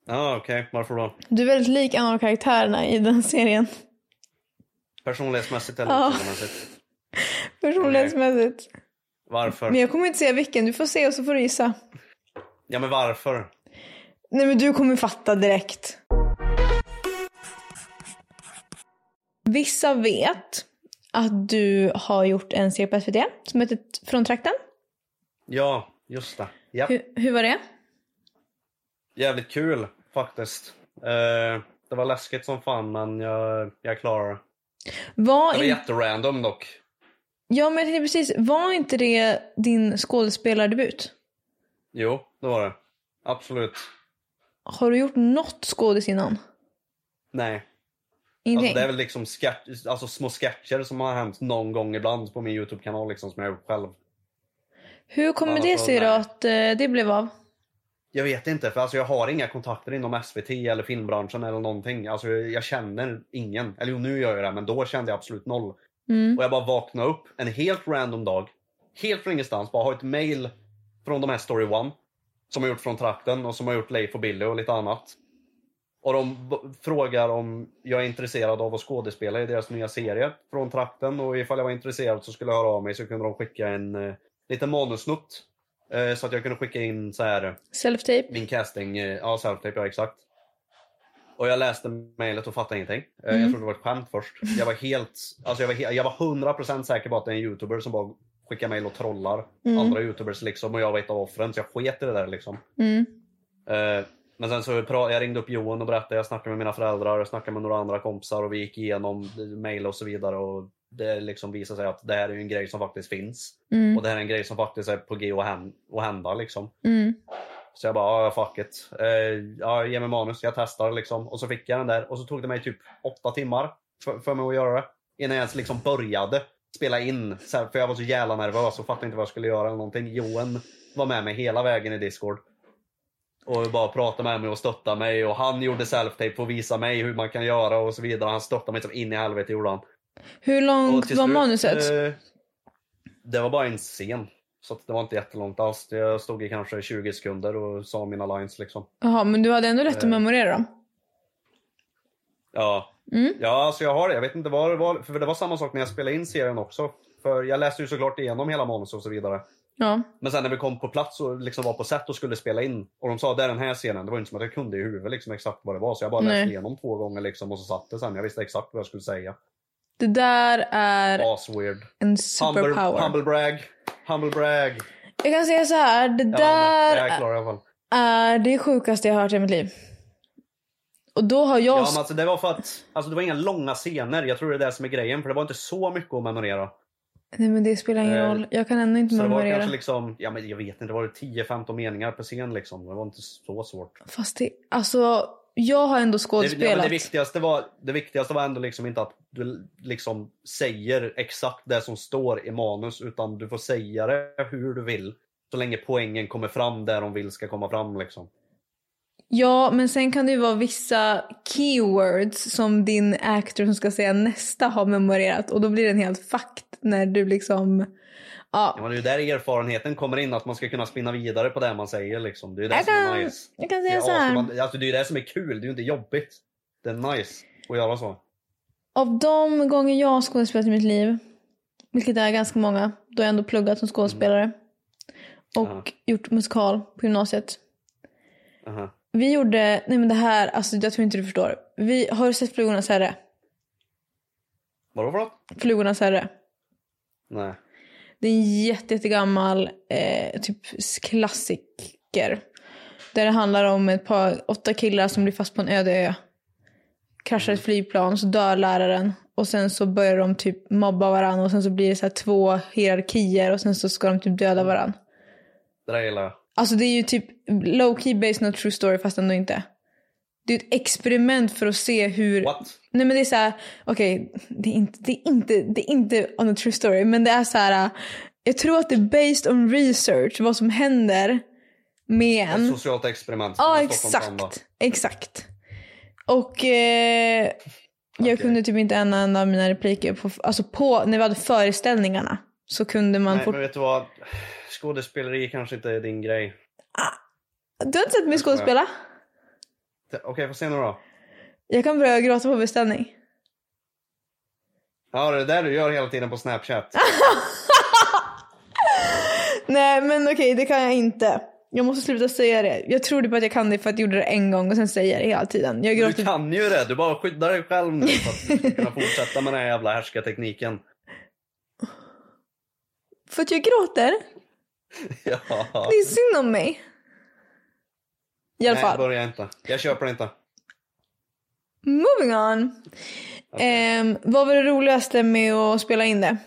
Speaker 2: Ja, okej. Varför då?
Speaker 1: Du är väldigt lik en av karaktärerna i den serien.
Speaker 2: Personlighetsmässigt eller liksom,
Speaker 1: Ja.
Speaker 2: utseendemässigt?
Speaker 1: Personlighetsmässigt. Men
Speaker 2: Varför?
Speaker 1: jag kommer inte säga vilken. Du får se och så får du gissa.
Speaker 2: Ja, men varför?
Speaker 1: Nej men du kommer fatta direkt. Vissa vet att du har gjort en serie på SVT som heter Från trakten.
Speaker 2: Ja, just det. Ja.
Speaker 1: Hur, hur var det?
Speaker 2: Jävligt kul faktiskt. Eh, det var läskigt som fan, men jag, jag klarar det.
Speaker 1: Var
Speaker 2: Det var
Speaker 1: in-
Speaker 2: jätterandom dock.
Speaker 1: Ja men jag tänkte precis, var inte det din skådespelardebut?
Speaker 2: Jo, det var det. Absolut.
Speaker 1: Har du gjort något skådis innan?
Speaker 2: Nej.
Speaker 1: Ingenting?
Speaker 2: Alltså, det är väl liksom sketch, alltså små sketcher som har hänt någon gång ibland på min Youtube-kanal liksom, som jag har gjort själv.
Speaker 1: Hur kommer
Speaker 2: Ja,
Speaker 1: det
Speaker 2: så-
Speaker 1: sig då
Speaker 2: nej.
Speaker 1: att eh, det blev av?
Speaker 2: Jag vet inte, för alltså jag har inga kontakter inom SVT eller filmbranschen eller någonting. Alltså jag, jag känner ingen. Eller jo, nu gör jag det, men då kände jag absolut noll.
Speaker 1: Mm.
Speaker 2: Och jag bara vaknade upp en helt random dag, helt från ingenstans, bara har ett mail från de här Story One. Som har gjort Från trakten och som har gjort Leif och Billy och lite annat. Och de b- frågar om jag är intresserad av att skådespela i deras nya serie Från trakten och ifall jag var intresserad så skulle jag höra av mig så kunde de skicka en eh, liten manusnutt. Eh, så att jag kunde skicka in så här
Speaker 1: Self-tape?
Speaker 2: min casting, eh, ja self-tape, ja exakt. Och jag läste mejlet och fattade ingenting. Eh, Jag trodde det var ett skämt först. Jag var helt, alltså jag var, he- jag var 100% säker på att det är en youtuber som bara skickar mejl och trollar andra youtubers liksom och jag var ett av offren så jag sket i det där liksom.
Speaker 1: Mm.
Speaker 2: Eh, Men sen så pra- jag ringde upp Johan och berättade, jag snackade med mina föräldrar, jag snackade med några andra kompisar och vi gick igenom mejl och så vidare och det liksom visade sig att det här är ju en grej som faktiskt finns.
Speaker 1: Mm.
Speaker 2: Och det här är en grej som faktiskt är på g att hän- att hända liksom.
Speaker 1: Mm.
Speaker 2: Så jag bara, ja fuck it. Eh, ja, ge mig manus, jag testar liksom. Och så fick jag den där och så tog det mig typ åtta timmar för, för mig att göra det. Innan jag ens liksom började spela in. Så här, för jag var så jävla nervös och fattade inte vad jag skulle göra eller någonting. Johan var med mig hela vägen i Discord. Och bara pratade med mig och stöttade mig och han gjorde self-tape för att visa mig hur man kan göra och så vidare. Han stöttade mig som in i helvete gjorde han.
Speaker 1: Hur långt
Speaker 2: Och till
Speaker 1: var
Speaker 2: slut,
Speaker 1: manuset?
Speaker 2: eh, det var bara en scen. Så att det var inte jättelångt alls. Jag stod i kanske 20 sekunder och sa mina lines liksom.
Speaker 1: Jaha, men du hade ändå lätt att
Speaker 2: eh,
Speaker 1: memorera dem?
Speaker 2: Ja,
Speaker 1: Mm.
Speaker 2: ja alltså jag har det. Jag vet inte vad det var. För det var samma sak när jag spelade in serien också. För jag läste ju såklart igenom hela manuset och så vidare.
Speaker 1: Ja.
Speaker 2: Men sen när vi kom på plats och liksom var på set och skulle spela in och de sa det är den här scenen. Det var ju inte som att jag kunde i huvudet liksom exakt vad det var. Så jag bara
Speaker 1: Nej.
Speaker 2: läste igenom två gånger liksom och så satt det sen. Jag visste exakt vad jag skulle säga.
Speaker 1: Det där är
Speaker 2: Asweird.
Speaker 1: en
Speaker 2: Humble,
Speaker 1: superpower.
Speaker 2: humble brag. Humble brag.
Speaker 1: Jag kan säga så här, det
Speaker 2: Ja,
Speaker 1: där
Speaker 2: men jag klarar i alla fall.
Speaker 1: är det sjukaste jag har hört i mitt liv. Och då har jag...
Speaker 2: Ja, men alltså, det var för att alltså, det var inga långa scener. Jag tror det är det som är grejen. För det var inte så mycket att memorera.
Speaker 1: Nej men det spelar ingen
Speaker 2: Eh,
Speaker 1: roll. Jag kan ändå inte
Speaker 2: Så det var
Speaker 1: memorera.
Speaker 2: kanske liksom, ja men jag vet inte, det var 10-15 meningar per scen liksom. Det var inte så svårt.
Speaker 1: Fast det, alltså jag har ändå
Speaker 2: Det, ja, men
Speaker 1: skådespelat.
Speaker 2: det, viktigaste var, det viktigaste var ändå liksom inte att du liksom säger exakt det som står i manus utan du får säga det hur du vill. Så länge poängen kommer fram där de vill ska komma fram liksom.
Speaker 1: Ja, men sen kan det ju vara vissa keywords som din actor som ska säga nästa har memorerat och då blir den helt fucked när du liksom...
Speaker 2: Ja,
Speaker 1: Ja,
Speaker 2: men det är ju där erfarenheten kommer in, att man ska kunna spinna vidare på det man säger liksom. Det är ju det
Speaker 1: jag
Speaker 2: som är
Speaker 1: kan,
Speaker 2: nice.
Speaker 1: jag kan
Speaker 2: Det
Speaker 1: säga
Speaker 2: är,
Speaker 1: så här.
Speaker 2: asman- alltså, det är ju det som är kul, det är ju inte jobbigt. Det är nice att göra så.
Speaker 1: Av de gånger jag har skådespelat i mitt liv, vilket är ganska många, då har jag ändå pluggat som skådespelare och
Speaker 2: Ja.
Speaker 1: gjort musikal på gymnasiet.
Speaker 2: Aha.
Speaker 1: Vi gjorde, nej men det här, alltså jag tror inte du förstår. Vi, har du sett Flugornas herre?
Speaker 2: Vadå för något?
Speaker 1: Flugornas herre.
Speaker 2: Nej.
Speaker 1: Det är en jätte, jättegammal eh, typ klassiker. Där det handlar om ett par, åtta killar som blir fast på en öde ö. Kraschar ett flygplan, så dör läraren. Och sen så börjar de typ mobba varandra och sen så blir det så här två hierarkier och sen så ska de typ döda varandra.
Speaker 2: Det där gillar jag.
Speaker 1: Alltså det är ju typ low key based on a true story fast ändå inte. Det är ett experiment för att se hur...
Speaker 2: What?
Speaker 1: Nej men det är så här, okej, det är inte, det är inte, det är inte on a true story, men det är så här, äh, jag tror att det är based on research, vad som händer med
Speaker 2: Ett
Speaker 1: en.
Speaker 2: socialt experiment.
Speaker 1: Ja,
Speaker 2: med Stockholm Samba.
Speaker 1: exakt, exakt. Och eh, jag
Speaker 2: Okej.
Speaker 1: kunde typ inte en enda av mina repliker, på, alltså på, när vi hade föreställningarna så kunde man
Speaker 2: Nej,
Speaker 1: fort...
Speaker 2: men vet du vad? Skådespeleri kanske inte är din grej.
Speaker 1: Du har inte sett mig
Speaker 2: skojar.
Speaker 1: skådespela?
Speaker 2: T- Okej, får se nu då.
Speaker 1: Jag kan börja gråta på beställning.
Speaker 2: Ja, det är det där du gör hela tiden på Snapchat.
Speaker 1: Nej men okej det kan jag inte. Jag måste sluta säga det. Jag trodde på att jag kan det för att jag gjorde det en gång och sen säger jag det hela tiden. Jag
Speaker 2: Du
Speaker 1: gråter.
Speaker 2: kan ju det, du bara skyddar dig själv nu för att du ska kunna fortsätta med den här jävla härskartekniken.
Speaker 1: För att jag gråter?
Speaker 2: Ja.
Speaker 1: Det är synd om mig. I alla
Speaker 2: Nej,
Speaker 1: fall.
Speaker 2: börja inte. Jag köper det inte.
Speaker 1: Moving on. Ehm, vad var det roligaste med att spela in det?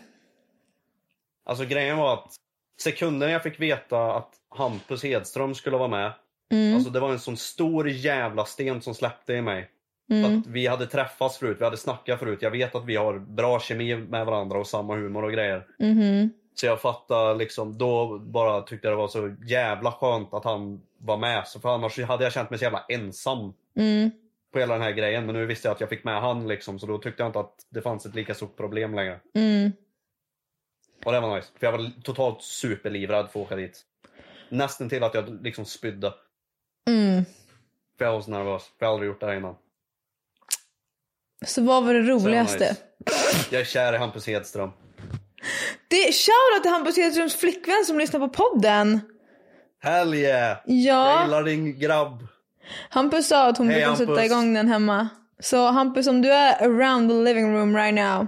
Speaker 2: Alltså grejen var att sekunden jag fick veta att Hampus Hedström skulle vara med,
Speaker 1: Mm,
Speaker 2: alltså det var en sån stor jävla sten som släppte i mig. För
Speaker 1: mm,
Speaker 2: att vi hade träffats förut, vi hade snackat förut. Jag vet att vi har bra kemi med varandra och samma humor och grejer.
Speaker 1: mhm.
Speaker 2: Så jag fattar liksom, då bara tyckte jag det var så jävla skönt att han var med. Så för annars hade jag känt mig så jävla ensam
Speaker 1: mm.
Speaker 2: på hela den här grejen. Men nu visste jag att jag fick med han liksom, så då tyckte jag inte att det fanns ett lika stort problem längre.
Speaker 1: mm.
Speaker 2: Och det var nice. För jag var totalt superlivrad för att åka dit. Nästan till att jag liksom spydde.
Speaker 1: Mm.
Speaker 2: För jag var så nervös. För jag har aldrig gjort det här innan.
Speaker 1: Så vad var det
Speaker 2: Så det var nice.
Speaker 1: roligaste?
Speaker 2: Jag är kär i Hampus Hedström.
Speaker 1: Det är shoutout till Hampus Hedströms flickvän som lyssnar på podden.
Speaker 2: Hell yeah! Jag
Speaker 1: Ja,
Speaker 2: gillar din grabb.
Speaker 1: Hampus sa att hon
Speaker 2: Hej,
Speaker 1: brukar
Speaker 2: Hampus.
Speaker 1: sätta igång den hemma. Så Hampus om du är around the living room right now.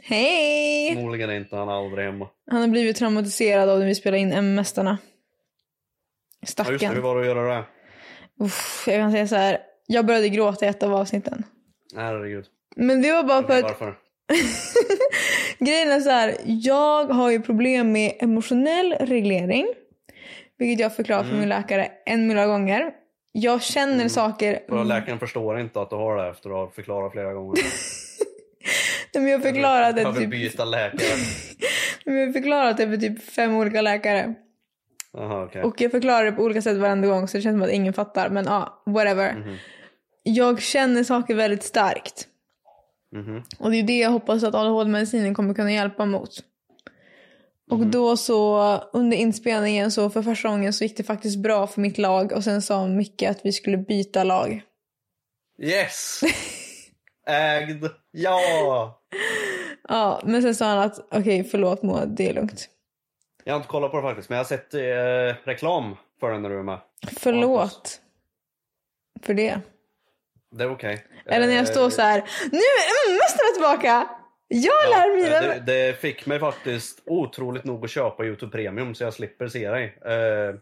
Speaker 1: Hej!
Speaker 2: Förmodligen inte, han är aldrig hemma.
Speaker 1: Han har blivit traumatiserad av när vi spelade in M-mästarna.
Speaker 2: Ja, just det, hur
Speaker 1: Stackarn.
Speaker 2: var det att göra det?
Speaker 1: Uff, jag kan säga så här. Jag började gråta i ett av avsnitten.
Speaker 2: Herregud.
Speaker 1: Men det var bara för att
Speaker 2: Varför?
Speaker 1: grejen är så här. Jag har ju problem med emotionell reglering. Vilket jag har förklarat för min
Speaker 2: Mm.
Speaker 1: läkare en miljard gånger. Jag känner saker.
Speaker 2: För att läkaren förstår inte att du har det efter att ha förklarat flera gånger.
Speaker 1: Men jag har förklarat det
Speaker 2: Behöver
Speaker 1: typ
Speaker 2: byta läkare.
Speaker 1: Men jag har förklarat det för typ fem olika läkare.
Speaker 2: Aha, okej.
Speaker 1: Och jag förklarar det på olika sätt varenda gång så det känns som att ingen fattar. Men ja, whatever.
Speaker 2: Mm.
Speaker 1: Jag känner saker väldigt starkt.
Speaker 2: Mhm.
Speaker 1: Och det är det jag hoppas att ADHD-medicinen kommer kunna hjälpa mot. Och då så under inspelningen så för första gången så gick det faktiskt bra för mitt lag. Och sen sa Micke att vi skulle byta lag.
Speaker 2: Yes! Ägd! Ja!
Speaker 1: Ja, men sen sa han att okej förlåt Moa, det är lugnt.
Speaker 2: Jag har inte kollat på det faktiskt, men jag har sett eh, reklam för den när du är med.
Speaker 1: Förlåt. För det.
Speaker 2: Det är okej. Eh,
Speaker 1: Eller när jag står så här. Nu är mm-mästarna tillbaka! Jag lär
Speaker 2: Eh,
Speaker 1: mina...
Speaker 2: Det, det fick mig faktiskt otroligt nog att köpa Youtube Premium så jag slipper se dig. Eh,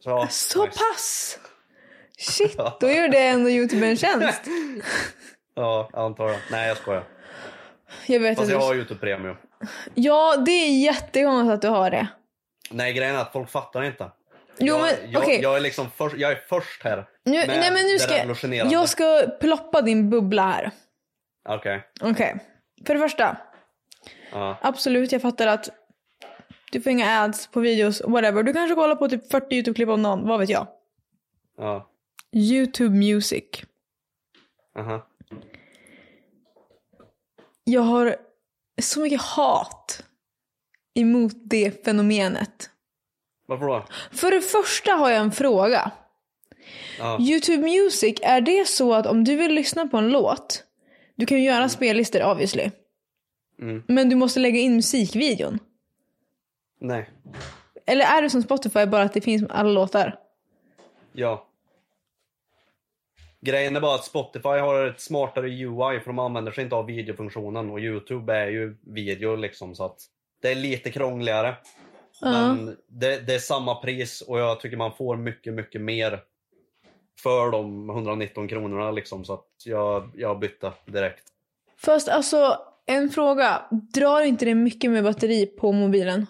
Speaker 2: så, ja,
Speaker 1: Alltså, Så
Speaker 2: nice.
Speaker 1: pass! Shit, då gjorde jag ändå Youtube en tjänst.
Speaker 2: Ja, antar jag. Nej, jag skojar.
Speaker 1: Jag vet
Speaker 2: Fast
Speaker 1: att
Speaker 2: jag
Speaker 1: du...
Speaker 2: har Youtube Premium.
Speaker 1: Ja, det är jättekonstigt att du har det.
Speaker 2: Nej, grejen är att folk fattar inte.
Speaker 1: Jo,
Speaker 2: jag,
Speaker 1: men
Speaker 2: jag,
Speaker 1: okej.
Speaker 2: jag, är liksom först, jag är först här.
Speaker 1: Nu,
Speaker 2: med
Speaker 1: nej, men nu
Speaker 2: det
Speaker 1: ska jag,
Speaker 2: revolutionerande.
Speaker 1: jag ska ploppa din bubbla här.
Speaker 2: Okej.
Speaker 1: Okej. För det första,
Speaker 2: Ja.
Speaker 1: absolut jag fattar att du får inga ads på videos, whatever. Du kanske kollar på typ 40 YouTube-klipp om dagen, vad vet jag.
Speaker 2: Ja.
Speaker 1: YouTube Music.
Speaker 2: Aha.
Speaker 1: Jag har så mycket hat emot det fenomenet.
Speaker 2: Varför då?
Speaker 1: För det första har jag en fråga.
Speaker 2: Ja.
Speaker 1: Youtube Music, är det så att om du vill lyssna på en låt, du kan ju göra spellistor obviously,
Speaker 2: Mm.
Speaker 1: men du måste lägga in musikvideon?
Speaker 2: Nej.
Speaker 1: Eller är det som Spotify bara att det finns alla låtar?
Speaker 2: Ja. Grejen är bara att Spotify har ett smartare UI för de använder sig inte av videofunktionen och Youtube är ju video liksom så att det är lite krångligare. Men det, det är samma pris och jag tycker man får mycket, mycket mer för de 119 kronorna liksom så att jag, jag bytte direkt.
Speaker 1: Fast alltså, en fråga. Drar inte det mycket med batteri på mobilen?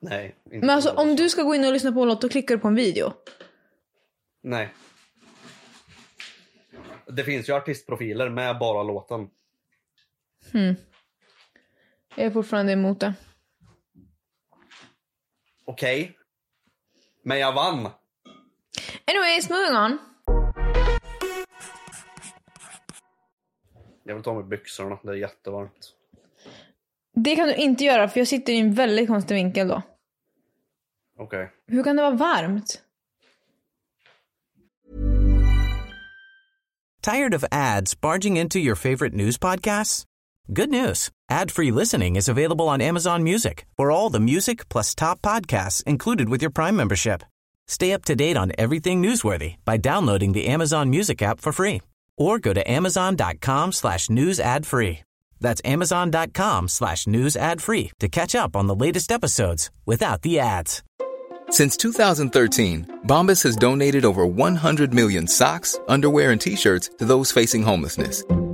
Speaker 2: Nej. Inte
Speaker 1: Men alltså om du ska gå in och lyssna på en låt, då klickar du på en video.
Speaker 2: Nej. Det finns ju artistprofiler med bara låten.
Speaker 1: Jag är fortfarande emot det.
Speaker 2: Okej. Men jag vann.
Speaker 1: Anyways, moving on.
Speaker 2: Jag vill ta med byxorna, det är jättevarmt.
Speaker 1: Det kan du inte göra för jag sitter i en väldigt konstig vinkel då.
Speaker 2: Okej.
Speaker 1: Hur kan det vara varmt?
Speaker 3: Tired of ads barging into your favorite news podcasts? Good news. Ad-free listening is available on Amazon Music for all the music plus top podcasts included with your Prime membership. Stay up to date on everything newsworthy by downloading the Amazon Music app for free or go to amazon.com slash news ad free. That's amazon.com slash news ad free to catch up on the latest episodes without the ads.
Speaker 4: Since 2013, Bombas has donated over 100 million socks, underwear, and t shirts to those facing homelessness.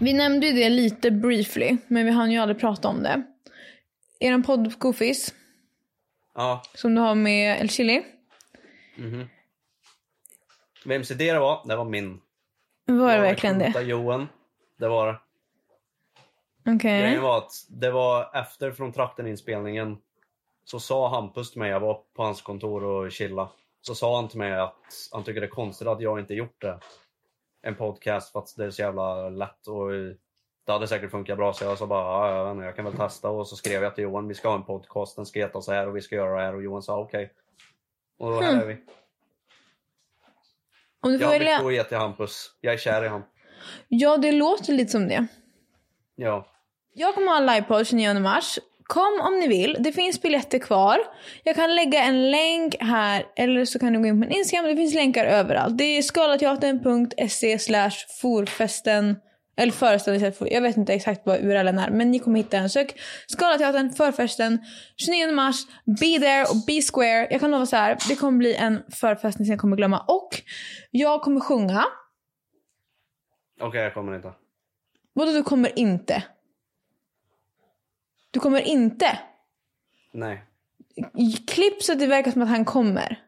Speaker 1: Vi nämnde ju det lite briefly, men vi hann ju aldrig prata om det. Eran podd Goofis,
Speaker 2: Ja.
Speaker 1: som du har med El Chili,
Speaker 2: Vems idé det var? Det var min.
Speaker 1: var det
Speaker 2: Jag
Speaker 1: verkligen det?
Speaker 2: rekrytade Johan. Det var det.
Speaker 1: Okej.
Speaker 2: Grejen var att det var efter från trakten-inspelningen så sa Hampus till mig, jag var på hans kontor och chilla. Så sa han till mig att han tycker det är konstigt att jag inte gjort det. En podcast för att det är så jävla lätt och det hade säkert funkat bra så jag sa bara, ja, jag, vet inte, jag kan väl testa och så skrev jag till Johan, vi ska ha en podcast, den ska heta så här och vi ska göra det här och Johan sa okej. Och då här är vi.
Speaker 1: Om du
Speaker 2: Jag
Speaker 1: får
Speaker 2: har mycket att
Speaker 1: välja.
Speaker 2: ge till Hampus, jag är kär i han.
Speaker 1: Ja, det låter lite som det.
Speaker 2: Ja.
Speaker 1: Jag kommer ha en livepodd 29 mars. Kom om ni vill. Det finns biljetter kvar. Jag kan lägga en länk här eller så kan du gå in på min Instagram. Det finns länkar överallt. Det är skalateatern.se slash forfesten. Eller föreställningen. Jag vet inte exakt vad URLen är men ni kommer hitta den. Sök Skalateatern, förfesten, 29 mars. Be there och be square. Jag kan lova så här. Det kommer bli en förfestning som jag kommer glömma. Och jag kommer sjunga.
Speaker 2: Okej, jag kommer inte.
Speaker 1: Vadå du kommer inte? Du kommer inte?
Speaker 2: Nej.
Speaker 1: klipp så att det verkar som att han kommer.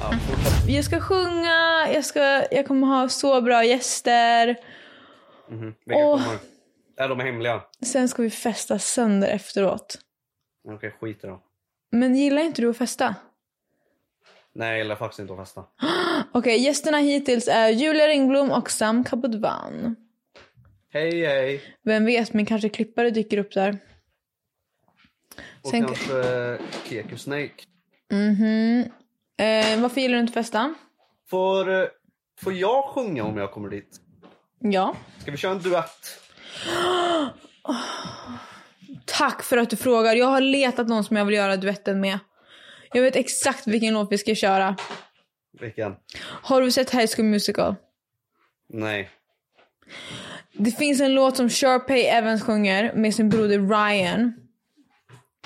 Speaker 2: Ja, fortsätt.
Speaker 1: Jag ska sjunga, jag, ska, jag kommer ha så bra gäster.
Speaker 2: Mhm. Vilka
Speaker 1: Åh.
Speaker 2: kommer? Är de hemliga?
Speaker 1: Sen ska vi festa sönder efteråt.
Speaker 2: Okej, skit i dem.
Speaker 1: Men gillar inte du att festa?
Speaker 2: Nej, jag gillar faktiskt inte att festa.
Speaker 1: Okej, gästerna hittills är Julia Ringblom och Sam Kabudvan.
Speaker 2: Hej, hej!
Speaker 1: Vem vet, min kanske klippare dyker upp där.
Speaker 2: Och
Speaker 1: Sen-
Speaker 2: kanske eh, Keku Snake.
Speaker 1: Mhm. Eh, varför gillar du inte festa?
Speaker 2: Får, eh, får jag sjunga om jag kommer dit?
Speaker 1: Ja.
Speaker 2: Ska vi köra en duett?
Speaker 1: Tack för att du frågar. Jag har letat någon som jag vill göra duetten med. Jag vet exakt vilken låt vi ska köra.
Speaker 2: Vilken?
Speaker 1: Har du sett High School Musical?
Speaker 2: Nej.
Speaker 1: Det finns en låt som Sharpay Evans sjunger med sin broder Ryan.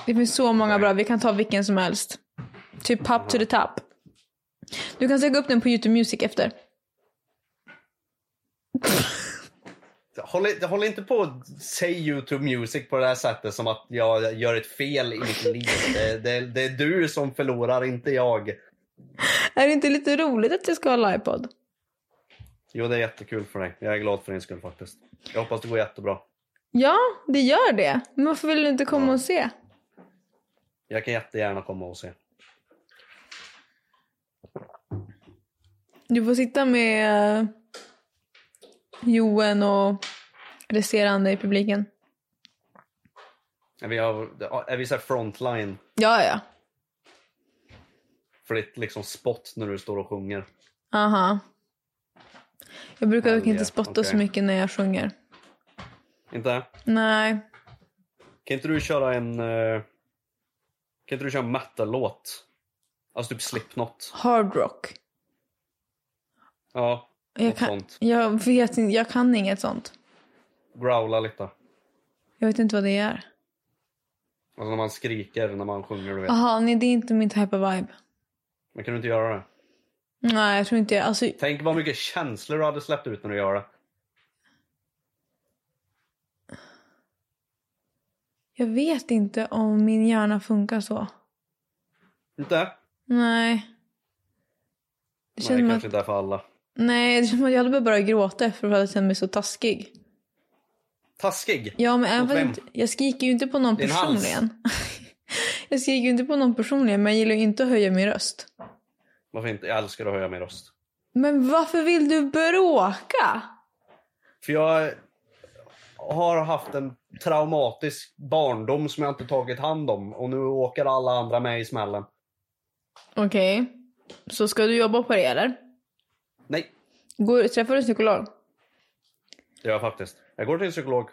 Speaker 1: Det finns så många bra. Vi kan ta vilken som helst. Typ Pop to the Top. Du kan söka upp den på YouTube Music efter.
Speaker 2: Håll, i- håll inte på att säga YouTube Music på det här sättet som att jag gör ett fel i mitt liv. Det, det, det är du som förlorar, inte jag.
Speaker 1: Är det inte lite roligt att jag ska ha livepodd?
Speaker 2: Jo, det är jättekul för dig. Jag är glad för din skull faktiskt. Jag hoppas det går jättebra.
Speaker 1: Ja, det gör det. Men varför vill du inte komma och se?
Speaker 2: Jag kan jättegärna komma och se.
Speaker 1: Du får sitta med eh, Johan och resterande i publiken.
Speaker 2: Är vi, av- är vi så här frontline
Speaker 1: Ja, ja.
Speaker 2: för ditt liksom spot när du står och sjunger?
Speaker 1: Aha. Jag brukar
Speaker 2: Hell
Speaker 1: dock inte
Speaker 2: yeah,
Speaker 1: spotta så
Speaker 2: okej.
Speaker 1: mycket när jag sjunger.
Speaker 2: Inte?
Speaker 1: Nej.
Speaker 2: Kan inte du köra en... eh, Kan inte du köra en metal-låt? Alltså typ Slipknot.
Speaker 1: Hard rock.
Speaker 2: Ja,
Speaker 1: Jag
Speaker 2: något
Speaker 1: kan,
Speaker 2: sånt.
Speaker 1: jag vet inte, jag kan inget sånt.
Speaker 2: Growla lite. Alltså
Speaker 1: Jag vet inte vad det är.
Speaker 2: när man skriker, när man sjunger, du vet.
Speaker 1: Aha, nej det är inte min type of vibe.
Speaker 2: Men kan du inte göra det?
Speaker 1: Nej, jag tror inte jag, alltså
Speaker 2: Tänk vad mycket känslor du hade släppt ut när du gör det.
Speaker 1: jag vet inte om min hjärna funkar så.
Speaker 2: Inte?
Speaker 1: Nej. Det känns
Speaker 2: Nej,
Speaker 1: som
Speaker 2: det kanske
Speaker 1: att,
Speaker 2: inte är för alla.
Speaker 1: nej, det känns som att jag hade bara börjat gråta för att jag kände mig så taskig.
Speaker 2: Taskig!
Speaker 1: Ja men även
Speaker 2: Mot
Speaker 1: fast
Speaker 2: vem?
Speaker 1: inte, jag skriker ju inte på någon
Speaker 2: Din hals.
Speaker 1: personligen. jag skriker ju inte på någon personligen men jag gillar ju inte att höja min röst.
Speaker 2: Varför inte? Jag älskar att höja min röst.
Speaker 1: Men varför vill du bråka?
Speaker 2: För jag har haft en traumatisk barndom som jag inte tagit hand om och nu åker alla andra med i smällen.
Speaker 1: Okej. Så ska du jobba på det eller?
Speaker 2: Nej,
Speaker 1: Går, träffar du en psykolog?
Speaker 2: det gör jag faktiskt. Jag går till en psykolog.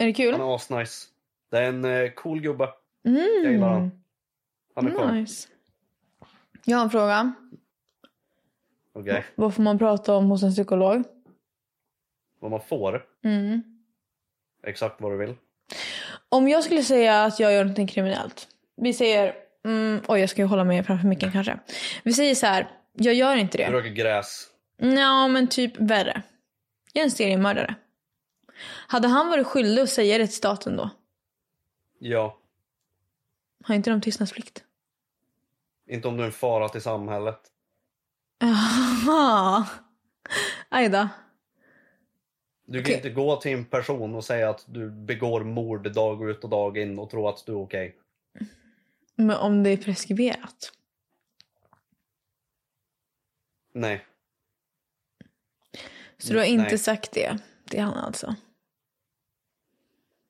Speaker 1: Är det kul?
Speaker 2: Han är asnice. Det är en eh, cool gubbe. Jag gillar han. Han är cool.
Speaker 1: Mm. Nice. Jag har en fråga.
Speaker 2: Okej.
Speaker 1: Vad får man prata om hos en psykolog?
Speaker 2: Vad man får.
Speaker 1: Mm.
Speaker 2: Exakt vad du vill.
Speaker 1: Om jag skulle säga att jag gör någonting kriminellt. Vi säger... Mm, oj, jag ska ju hålla mig framför micken kanske. Vi säger så här. Jag gör inte
Speaker 2: Du
Speaker 1: det.
Speaker 2: röker gräs.
Speaker 1: Nja, men typ värre. Jag är en seriemördare. Hade han varit skyldig att säga det till staten då?
Speaker 2: Ja.
Speaker 1: Har inte de tystnadsplikt?
Speaker 2: Inte om du är en fara till samhället.
Speaker 1: Jaha. Aj då.
Speaker 2: Du kan
Speaker 1: Okej.
Speaker 2: inte gå till en person och säga att du begår mord dag ut och dag in och tro att du är okej.
Speaker 1: Men om det är preskriberat?
Speaker 2: Nej.
Speaker 1: Så du har inte
Speaker 2: Nej.
Speaker 1: sagt det till han alltså?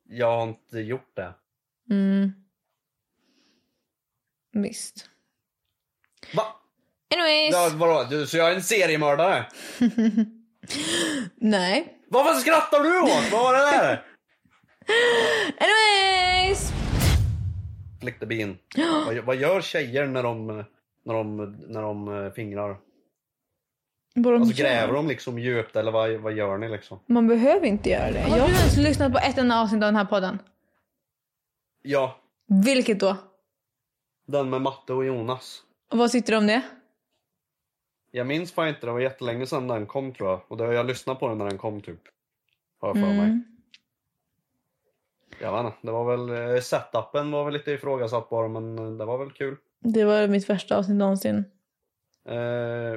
Speaker 2: Jag har inte gjort det.
Speaker 1: Mm. Visst.
Speaker 2: Va?
Speaker 1: Anyways.
Speaker 2: Ja, vadå? Du, så jag är en seriemördare?
Speaker 1: Nej.
Speaker 2: Varför skrattar du åt? Vad var det där?
Speaker 1: Anyways.
Speaker 2: Fläckte bin. Vad, vad gör tjejer när de, när de, när de eh, fingrar?
Speaker 1: Vad de
Speaker 2: Alltså
Speaker 1: gör.
Speaker 2: gräver de liksom djupt eller vad, vad gör ni liksom?
Speaker 1: Man behöver inte göra det. Har du ens lyssnat på ett enda avsnitt av den här podden?
Speaker 2: Ja,
Speaker 1: Vilket då?
Speaker 2: den med Matte och Jonas.
Speaker 1: Och vad tyckte du om det?
Speaker 2: Jag minns fan inte, det var jättelänge sedan den kom tror jag. Och det, jag lyssnade på den när den kom typ. Har jag för mig.
Speaker 1: Mm.
Speaker 2: Jag vet inte, det var väl, eh, setupen var väl lite ifrågasatt bara men eh, det var väl kul.
Speaker 1: Det var mitt värsta avsnitt någonsin.
Speaker 2: Eh,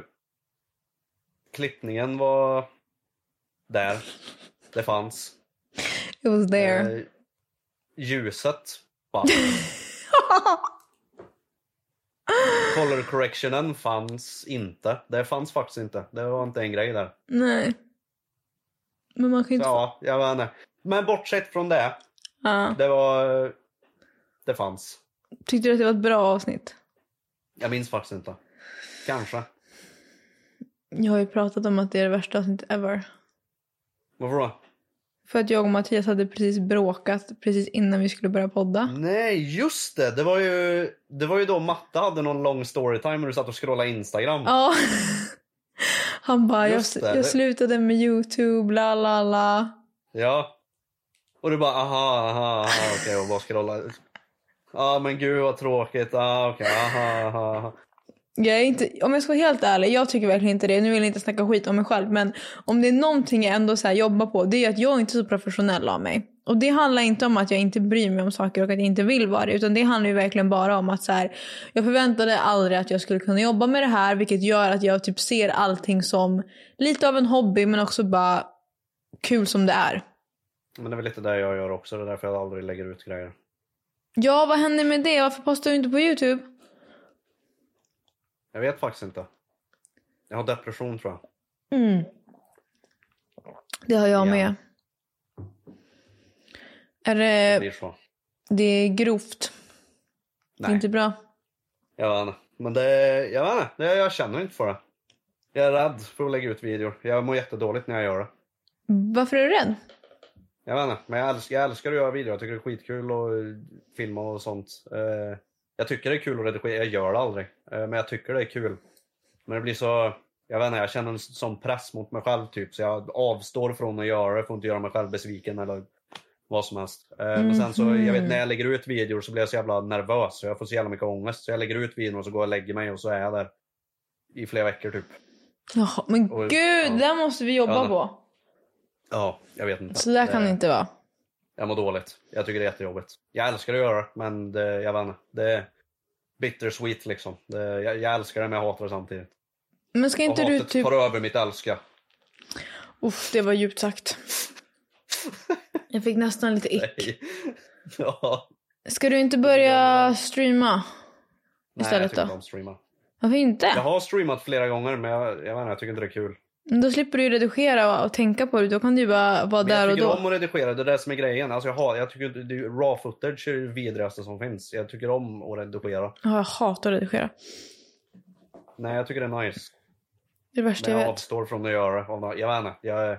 Speaker 2: klippningen var där. Det fanns.
Speaker 1: It was there.
Speaker 2: Eh, ljuset. Va? Color correctionen fanns inte. Det fanns faktiskt inte. Det var inte en grej där.
Speaker 1: Nej. Men man kan ju inte... Ja.
Speaker 2: Ja, jag vet inte. Men bortsett från det.
Speaker 1: Ja.
Speaker 2: Det var... Det fanns.
Speaker 1: Tyckte du att det var ett bra avsnitt?
Speaker 2: Jag minns faktiskt inte. Kanske.
Speaker 1: Jag har ju pratat om att det är det värsta avsnittet ever.
Speaker 2: Varför då?
Speaker 1: För att jag och Mattias hade precis bråkat precis innan vi skulle börja
Speaker 2: Mm.
Speaker 1: podda.
Speaker 2: Nej, just det! Det var ju, det var ju då Matta hade någon lång storytime när du satt och scrollade Instagram.
Speaker 1: Ja. Han bara, jag,
Speaker 2: Just det, det-
Speaker 1: jag slutade med YouTube, la la la.
Speaker 2: Ja. Och du bara aha, aha, aha okej och bara scrollar. Ja ah, men gud vad tråkigt, ah, okej, aha, aha, aha.
Speaker 1: Jag är inte, om jag ska vara helt ärlig, jag tycker verkligen inte det. Nu vill jag inte snacka skit om mig själv men om det är någonting jag ändå så här jobbar på det är att jag är inte så professionell av mig. Och det handlar inte om att jag inte bryr mig om saker och att jag inte vill vara det utan det handlar ju verkligen bara om att så här, jag förväntade aldrig att jag skulle kunna jobba med det här vilket gör att jag typ ser allting som lite av en hobby men också bara kul som det är.
Speaker 2: Men det är väl lite det jag gör också, det är därför jag aldrig lägger ut grejer.
Speaker 1: Ja, vad händer med det? Varför postar du inte på Youtube?
Speaker 2: Jag vet faktiskt inte. Jag har depression tror jag.
Speaker 1: Mm. Det har jag
Speaker 2: Ja.
Speaker 1: med. Är
Speaker 2: Det
Speaker 1: det,
Speaker 2: blir så.
Speaker 1: det är grovt. Det
Speaker 2: Nej,
Speaker 1: är inte bra.
Speaker 2: jag vet inte. Men det, jag vet inte, det, jag känner inte för det. Jag är rädd för att lägga ut videor. Jag mår jättedåligt när jag gör det.
Speaker 1: Varför är du rädd?
Speaker 2: Jag vet inte, men jag älskar, jag älskar att göra videor. Jag tycker det är skitkul att eh, filma och sånt. Eh, jag tycker det är kul att redigera, jag gör det aldrig. Eh, men jag tycker det är kul. Men det blir så, jag vet inte, jag känner en sån press mot mig själv typ. Så jag avstår från att göra det för att inte göra mig själv besviken eller vad som helst. Eh, Men sen så,
Speaker 1: Mhm.
Speaker 2: jag vet när jag lägger ut videor så blir jag så jävla nervös. Så jag får så jävla mycket ångest. Så jag lägger ut videor och så går jag och lägger mig och så är jag där. I flera veckor typ.
Speaker 1: Jaha, men
Speaker 2: Oj,
Speaker 1: gud,
Speaker 2: ja.
Speaker 1: där måste vi jobba
Speaker 2: Ja.
Speaker 1: på.
Speaker 2: Ja, jag vet inte.
Speaker 1: Så där kan
Speaker 2: Eh,
Speaker 1: det inte vara.
Speaker 2: Jag mår dåligt. Jag tycker det är jättejobbigt. Jag älskar att göra det, men det, jag vet inte. Det är bittersweet liksom. Det, jag, jag älskar det men jag hatar det samtidigt.
Speaker 1: Men ska
Speaker 2: Och
Speaker 1: inte du
Speaker 2: hatet
Speaker 1: typ...
Speaker 2: tar över mitt älska.
Speaker 1: Uff, det var djupt sagt. Jag fick nästan lite ick.
Speaker 2: Nej. ja.
Speaker 1: Ska du inte börja streama?
Speaker 2: Nej, jag
Speaker 1: Istället
Speaker 2: tycker inte
Speaker 1: då?
Speaker 2: om streama.
Speaker 1: Varför inte?
Speaker 2: Jag har streamat flera gånger men jag, jag, vet inte, jag tycker inte det är kul.
Speaker 1: Men Då slipper du ju redigera och tänka på det. Då kan du ju bara vara
Speaker 2: Men jag
Speaker 1: där och
Speaker 2: tycker
Speaker 1: då.
Speaker 2: om att redigera, det är det som är grejen. Alltså jag, har, jag tycker inte- det, är- raw footage är det vidrigaste som finns. Jag tycker om att redigera.
Speaker 1: Ja, jag hatar att redigera.
Speaker 2: Nej, jag tycker det är nice.
Speaker 1: Det är det värsta
Speaker 2: Men
Speaker 1: jag
Speaker 2: jag
Speaker 1: vet.
Speaker 2: avstår från att göra det. av någon- Jag vet inte. Jag,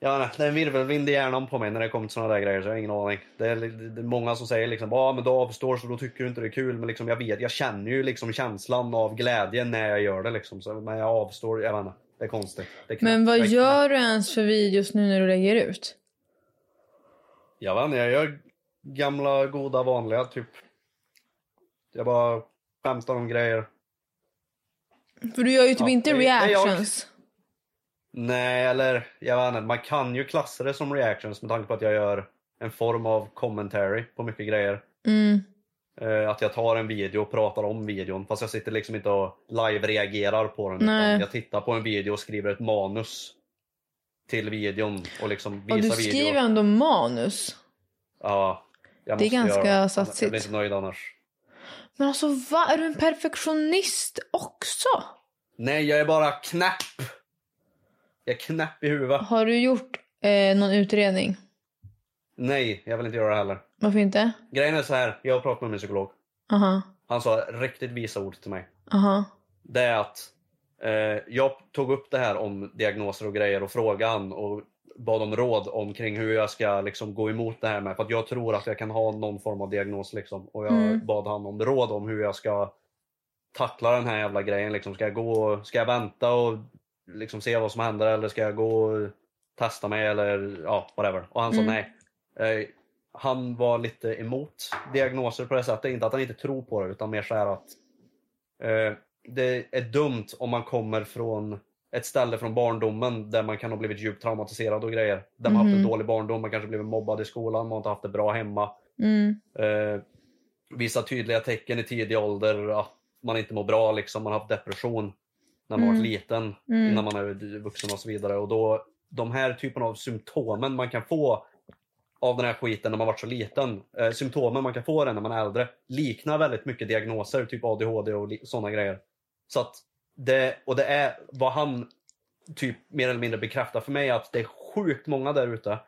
Speaker 2: jag vet inte, det är en virvelvind i hjärnan på mig när det kommer till sådana där grejer så jag har ingen aning. Det är, det är många som säger liksom ah, men du avstår så då tycker du inte det är kul. Men liksom, jag vet, jag känner ju liksom känslan av glädje när jag gör det liksom. Så, men jag avstår, jag vet inte. Det är konstigt. Det är knäppt.
Speaker 1: Men vad
Speaker 2: jag, är knäppt.
Speaker 1: gör du ens för videos nu när du lägger ut?
Speaker 2: Jag vet inte, jag gör gamla goda vanliga typ. Jag bara skämtar om grejer.
Speaker 1: För du gör ju typ
Speaker 2: Ja,
Speaker 1: inte
Speaker 2: det är jag.
Speaker 1: reactions.
Speaker 2: Nej, eller jag vet inte. Man kan ju klassa det som reactions med tanke på att jag gör en form av commentary på mycket grejer.
Speaker 1: Mm.
Speaker 2: Eh, att jag tar en video och pratar om videon fast jag sitter liksom inte och live-reagerar på den.
Speaker 1: Nej.
Speaker 2: Utan jag tittar på en video och skriver ett manus till videon och liksom visar
Speaker 1: Och du
Speaker 2: videon.
Speaker 1: skriver ändå manus.
Speaker 2: Ja, jag
Speaker 1: Det är
Speaker 2: måste
Speaker 1: ganska
Speaker 2: göra.
Speaker 1: satsigt.
Speaker 2: Jag blir inte nöjd annars.
Speaker 1: Men alltså va? Är du en perfektionist också?
Speaker 2: Nej, jag är bara knäpp! Jag är knäpp i huvudet.
Speaker 1: Har du gjort eh, någon utredning?
Speaker 2: Nej, jag vill inte göra det heller.
Speaker 1: Varför inte?
Speaker 2: Grejen är så här, jag har pratat med min psykolog.
Speaker 1: Aha.
Speaker 2: Han sa riktigt visa ord till mig.
Speaker 1: Aha.
Speaker 2: det är att eh, jag tog upp det här om diagnoser och grejer och frågan och bad om råd omkring hur jag ska liksom, gå emot det här med. För att jag tror att jag kan ha någon form av diagnos liksom. Och jag
Speaker 1: Mm.
Speaker 2: bad han om råd om hur jag ska tackla den här jävla grejen. Liksom, ska jag gå och, ska jag vänta och liksom, se vad som händer eller ska jag gå och testa mig eller ja, whatever. Och han sa nej. Eh, han var lite emot diagnoser på det sättet. Inte att han inte tror på det utan mer så här att Eh, det är dumt om man kommer från ett ställe från barndomen där man kan ha blivit djupt traumatiserad och grejer. Där man haft en dålig barndom, man kanske blivit mobbad i skolan, man har inte haft det bra hemma.
Speaker 1: Mm.
Speaker 2: Eh, vissa tydliga tecken i tidig ålder att man inte mår bra, liksom. man har haft depression när man varit liten,
Speaker 1: mm.
Speaker 2: innan man är vuxen och så vidare. Och då, de här typen av symptomen man kan få av den här skiten när man varit så liten, eh, symptomen man kan få den när man är äldre, liknar väldigt mycket diagnoser, typ ADHD och sådana grejer. Så att det, och det är vad han typ mer eller mindre bekräftar för mig att det är sjukt många där ute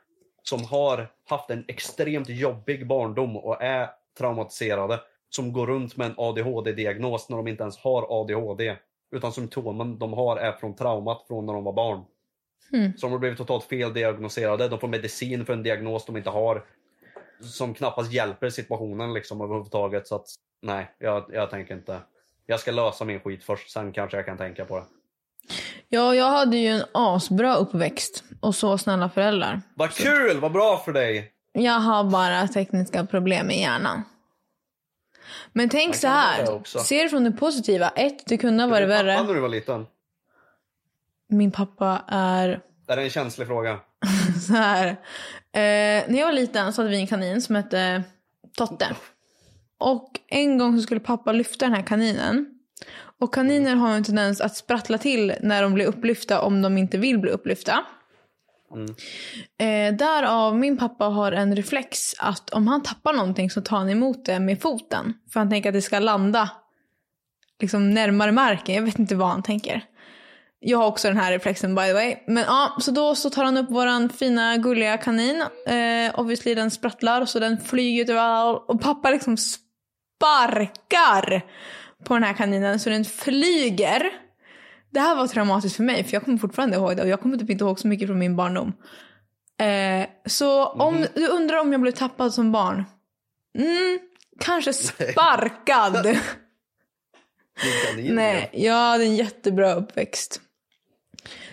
Speaker 2: som har haft en extremt jobbig barndom och är traumatiserade som går runt med en ADHD-diagnos när de inte ens har ADHD. Utan symptomen de har är från traumat från när de var barn.
Speaker 1: Hmm.
Speaker 2: Så de har blivit totalt feldiagnoserade. De får medicin för en diagnos de inte har. Som knappast hjälper situationen liksom överhuvudtaget. Så att nej, jag, jag tänker inte. Jag ska lösa min skit först, sen kanske jag kan tänka på det.
Speaker 1: Ja, jag hade ju en asbra uppväxt och så snälla föräldrar.
Speaker 2: Vad kul! Vad bra för dig!
Speaker 1: Jag har bara tekniska problem i hjärnan. Men tänk så
Speaker 2: kan
Speaker 1: här.
Speaker 2: vara också.
Speaker 1: Se det från det positiva. Ett, det kunde ha varit
Speaker 2: Pappa när
Speaker 1: värre.
Speaker 2: du var liten?
Speaker 1: Min pappa är
Speaker 2: Är det en känslig fråga?
Speaker 1: så här. Eh, när jag var liten så hade vi en kanin som hette Totte. Och en gång så skulle pappa lyfta den här kaninen. Och kaniner har ju en tendens att sprattla till när de blir upplyfta om de inte vill bli upplyfta.
Speaker 2: Mm.
Speaker 1: Eh, därav min pappa har en reflex att om han tappar någonting så tar han emot det med foten. För han tänker att det ska landa liksom närmare marken. Jag vet inte vad han tänker. Jag har också den här reflexen by the way. Men ja, så då så tar han upp våran fina gulliga kanin. Eh, obviously den sprattlar så den flyger ut överallt. och pappa liksom sparkar på den här kaninen så den flyger. Det här var traumatiskt för mig för jag kommer fortfarande ihåg det och jag kommer typ inte ihåg så mycket från min barndom. Eh, så om du undrar om jag blev tappad som barn? Mm, kanske sparkad.
Speaker 2: Din kanin,
Speaker 1: Nej, jag hade en jättebra uppväxt.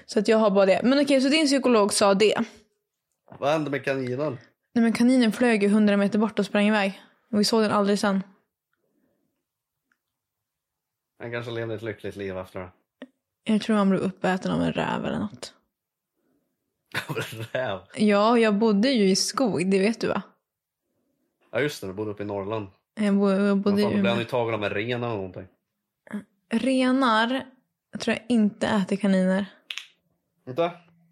Speaker 1: Så att jag har bara det. Men okej, så din psykolog sa det.
Speaker 2: ja. Vad hände med kaninen?
Speaker 1: Nej men kaninen flög ju 100 meter bort och sprang iväg. Och vi såg den aldrig sen.
Speaker 2: Han kanske levde ett lyckligt liv efter det.
Speaker 1: Jag tror han blev uppäten av en räv eller något.
Speaker 2: Räv.
Speaker 1: Ja, jag bodde ju i skog, det vet du va?
Speaker 2: Ja just det, du bodde uppe i Norrland.
Speaker 1: Jag, bo- jag bodde
Speaker 2: Vad
Speaker 1: i
Speaker 2: fan, då blev
Speaker 1: Umeå.
Speaker 2: han ju tagen av en ren eller någonting.
Speaker 1: Renar jag tror jag inte äter kaniner.
Speaker 2: Inte? Har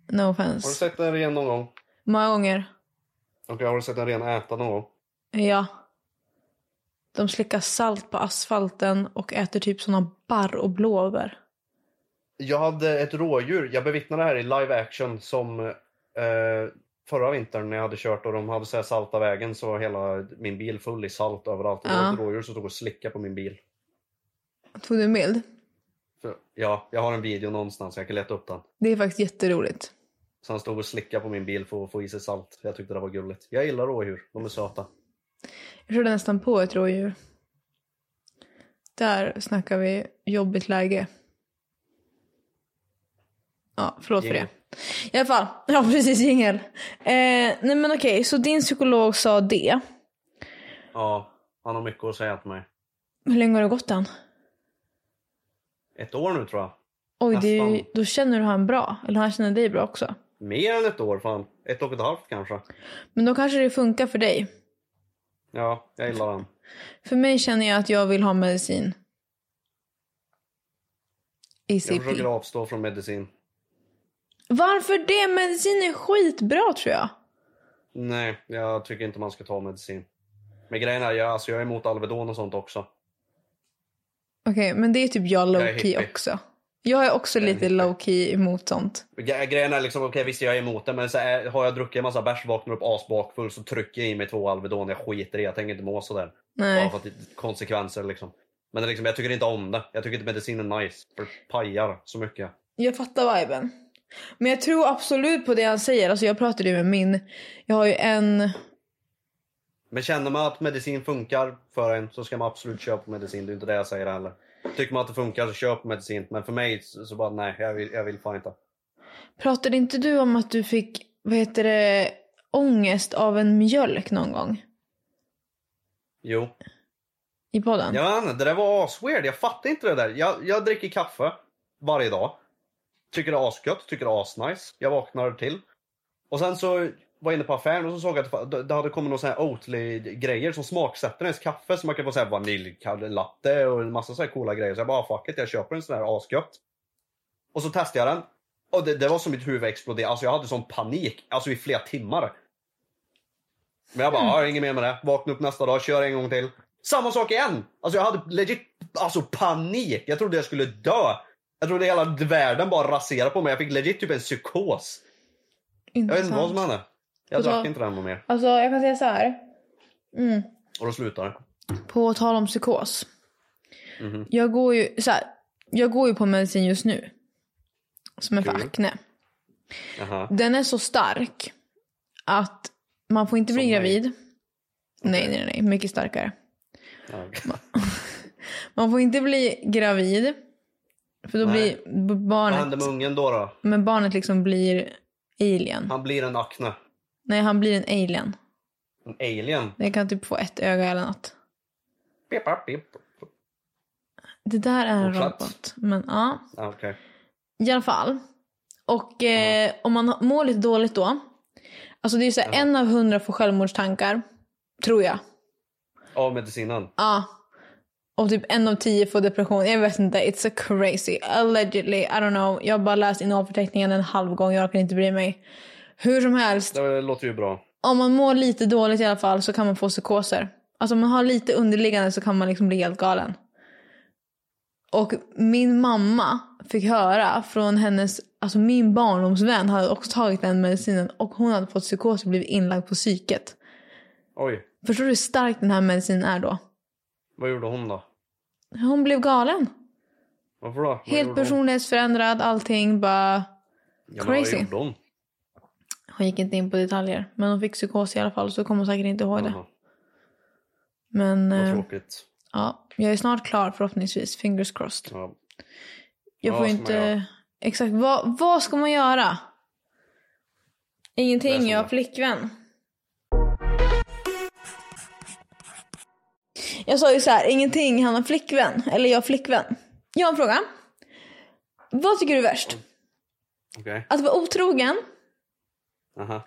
Speaker 1: No
Speaker 2: du
Speaker 1: offense.
Speaker 2: sett en ren någon gång?
Speaker 1: Många gånger.
Speaker 2: Okej, har du sett en ren äta någon gång?
Speaker 1: Ja. De slickar salt på asfalten och äter typ såna barr och blåbär.
Speaker 2: Jag hade ett rådjur. Jag bevittnade det här i live action som eh, förra vintern när jag hade kört och de hade så här salta vägen så var hela min bil full i salt överallt. Och Det var
Speaker 1: Ja.
Speaker 2: ett rådjur som stod och slickade på min bil.
Speaker 1: Tog du en bild?
Speaker 2: Så, ja, jag har en video någonstans. Jag kan leta upp den.
Speaker 1: Det är faktiskt jätteroligt.
Speaker 2: Så han stod och slickade på min bil för att få i sig salt. Jag tyckte det var gulligt. Jag gillar rådjur. De är söta.
Speaker 1: Jag körde nästan på ett rådjur. Där snackar vi jobbigt läge. Ja, förlåt för
Speaker 2: Jingel.
Speaker 1: det. I alla fall, ja precis jingel. Eh, nej men okej, så din psykolog sa det.
Speaker 2: Ja, han har mycket att säga till mig.
Speaker 1: Hur länge har det gått än?
Speaker 2: Ett år nu tror jag.
Speaker 1: Oj, det är ju,
Speaker 2: Nästan.
Speaker 1: då känner du han bra. Eller han känner dig bra också.
Speaker 2: Mer än ett år fan. Ett och ett halvt kanske.
Speaker 1: Men då kanske det funkar för dig.
Speaker 2: Ja, jag gillar den.
Speaker 1: För mig känner jag att jag vill ha medicin.
Speaker 2: Jag
Speaker 1: ECP.
Speaker 2: försöker avstå från medicin.
Speaker 1: Varför det? Medicin är skitbra tror jag.
Speaker 2: Nej, jag tycker inte man ska ta medicin. Men grejen är, jag, alltså, jag är emot Alvedon och sånt också.
Speaker 1: Okej, men det är typ jag
Speaker 2: Jag är
Speaker 1: low key
Speaker 2: hippie.
Speaker 1: också. Jag är också
Speaker 2: är en
Speaker 1: lite
Speaker 2: hippie.
Speaker 1: low key emot sånt.
Speaker 2: Gre- Grejen är liksom, okej visst jag är emot det men så är, har jag druckit en massa bärs, vaknar upp asbakfull så trycker jag i mig två Alvedon. Jag skiter i det, jag tänker inte må sådär. Bara
Speaker 1: Nej.
Speaker 2: för att det konsekvenser liksom. Men det är liksom, jag tycker inte om det. Jag tycker inte medicin är nice. För det pajar så mycket.
Speaker 1: Jag fattar viben. Men jag tror absolut på det han säger. Alltså jag pratade ju med min. Jag har ju en.
Speaker 2: Men känner man att medicin funkar för en så ska man absolut köpa medicin. Det är inte det jag säger heller. Tycker man att det funkar så köp medicin. Men för mig så, så bara nej, jag vill, jag vill fan inte.
Speaker 1: Pratade inte du om att du fick, vad heter det, ångest av en mjölk någon gång?
Speaker 2: Jo.
Speaker 1: I podden?
Speaker 2: Jag vet inte, det där var asweird. Jag fattar inte det där. Jag, jag dricker kaffe varje dag. Tycker det är asgött, tycker det är asnice. Jag vaknar till. Och sen så var jag inne på affären och så såg jag att det fa- det- det hade kommit någon sån här Oatly-grejer som smaksätter ens kaffe. Så man kan få så här vaniljlatte och en massa så här coola grejer. Så jag bara, ah, fuck it, jag köper en sån här asgött. Och så testade jag den. Och det, det var som mitt huvud exploderade. Alltså jag hade sån panik. Alltså i flera timmar. Men jag bara, mm. inget mer med det. Vakna upp nästa dag, kör en gång till. Samma sak igen! Alltså jag hade legit alltså panik. Jag trodde jag skulle dö. Jag trodde hela världen bara raserade på mig. Jag fick legit typ en psykos. Jag vet inte vad som hände. Jag
Speaker 1: Och då-
Speaker 2: drack inte den någon mer.
Speaker 1: Alltså jag kan säga så här.
Speaker 2: Och då slutade det.
Speaker 1: På tal om psykos. Jag går ju så här, jag går ju på medicin just nu. Som är för
Speaker 2: Kul.
Speaker 1: akne.
Speaker 2: Aha.
Speaker 1: Den är så stark att man får inte bli
Speaker 2: Som nej.
Speaker 1: gravid. Nej, nej, nej. Mycket starkare.
Speaker 2: Ja.
Speaker 1: Man får inte bli gravid. För då
Speaker 2: Nej.
Speaker 1: blir b-
Speaker 2: Vad händer med
Speaker 1: barnet...
Speaker 2: ungen då, då?
Speaker 1: Men barnet liksom blir alien.
Speaker 2: Han blir en akne.
Speaker 1: Nej, han blir en alien.
Speaker 2: En alien.
Speaker 1: Den kan typ få ett öga eller något.
Speaker 2: Pip, pip, pip.
Speaker 1: Det där är en
Speaker 2: Fortsatt.
Speaker 1: robot. Men ja.
Speaker 2: Ja, okej.
Speaker 1: I alla fall. Och eh, om man mår lite dåligt då. Alltså det är ju såhär, en av hundra får självmordstankar. Tror jag.
Speaker 2: Av medicinen.
Speaker 1: Ja. Och typ en av tio får depression. Jag vet inte. It's a crazy. Allegedly. I don't know. Jag har bara läst innehållsförteckningen en halv gång. Jag kan inte bry mig. Hur som helst.
Speaker 2: Det låter ju bra.
Speaker 1: Om man mår lite dåligt i alla fall så kan man få psykoser. Alltså om man har lite underliggande så kan man liksom bli helt galen. Och min mamma fick höra från hennes, alltså min barndomsvän hade också tagit den medicinen och hon hade fått psykos och blivit inlagd på psyket.
Speaker 2: Oj,
Speaker 1: Förstår du hur stark den här medicinen är då?
Speaker 2: vad gjorde hon då?
Speaker 1: Hon blev galen.
Speaker 2: Varför då? Vad
Speaker 1: Helt
Speaker 2: gjorde hon?
Speaker 1: personlighetsförändrad, allting bara...
Speaker 2: Ja, men vad
Speaker 1: crazy.
Speaker 2: gjorde hon?
Speaker 1: Hon gick inte in på detaljer. Men hon fick psykos i alla fall så kommer hon säkert inte ihåg det.
Speaker 2: Jaha,
Speaker 1: Men
Speaker 2: Vad
Speaker 1: eh,
Speaker 2: tråkigt.
Speaker 1: ja, jag är snart klar förhoppningsvis. Fingers crossed.
Speaker 2: Ja.
Speaker 1: Jag
Speaker 2: Ja,
Speaker 1: får ju
Speaker 2: vad ska man göra?
Speaker 1: inte... Exakt, vad, vad ska man göra?
Speaker 2: Det är
Speaker 1: Ingenting,
Speaker 2: så
Speaker 1: jag har
Speaker 2: bra.
Speaker 1: flickvän. Jag sa ju så här, ingenting, han har flickvän. Eller jag har flickvän. Jag har en fråga. Vad tycker du är värst?
Speaker 2: Okej.
Speaker 1: Att vara otrogen
Speaker 2: Aha.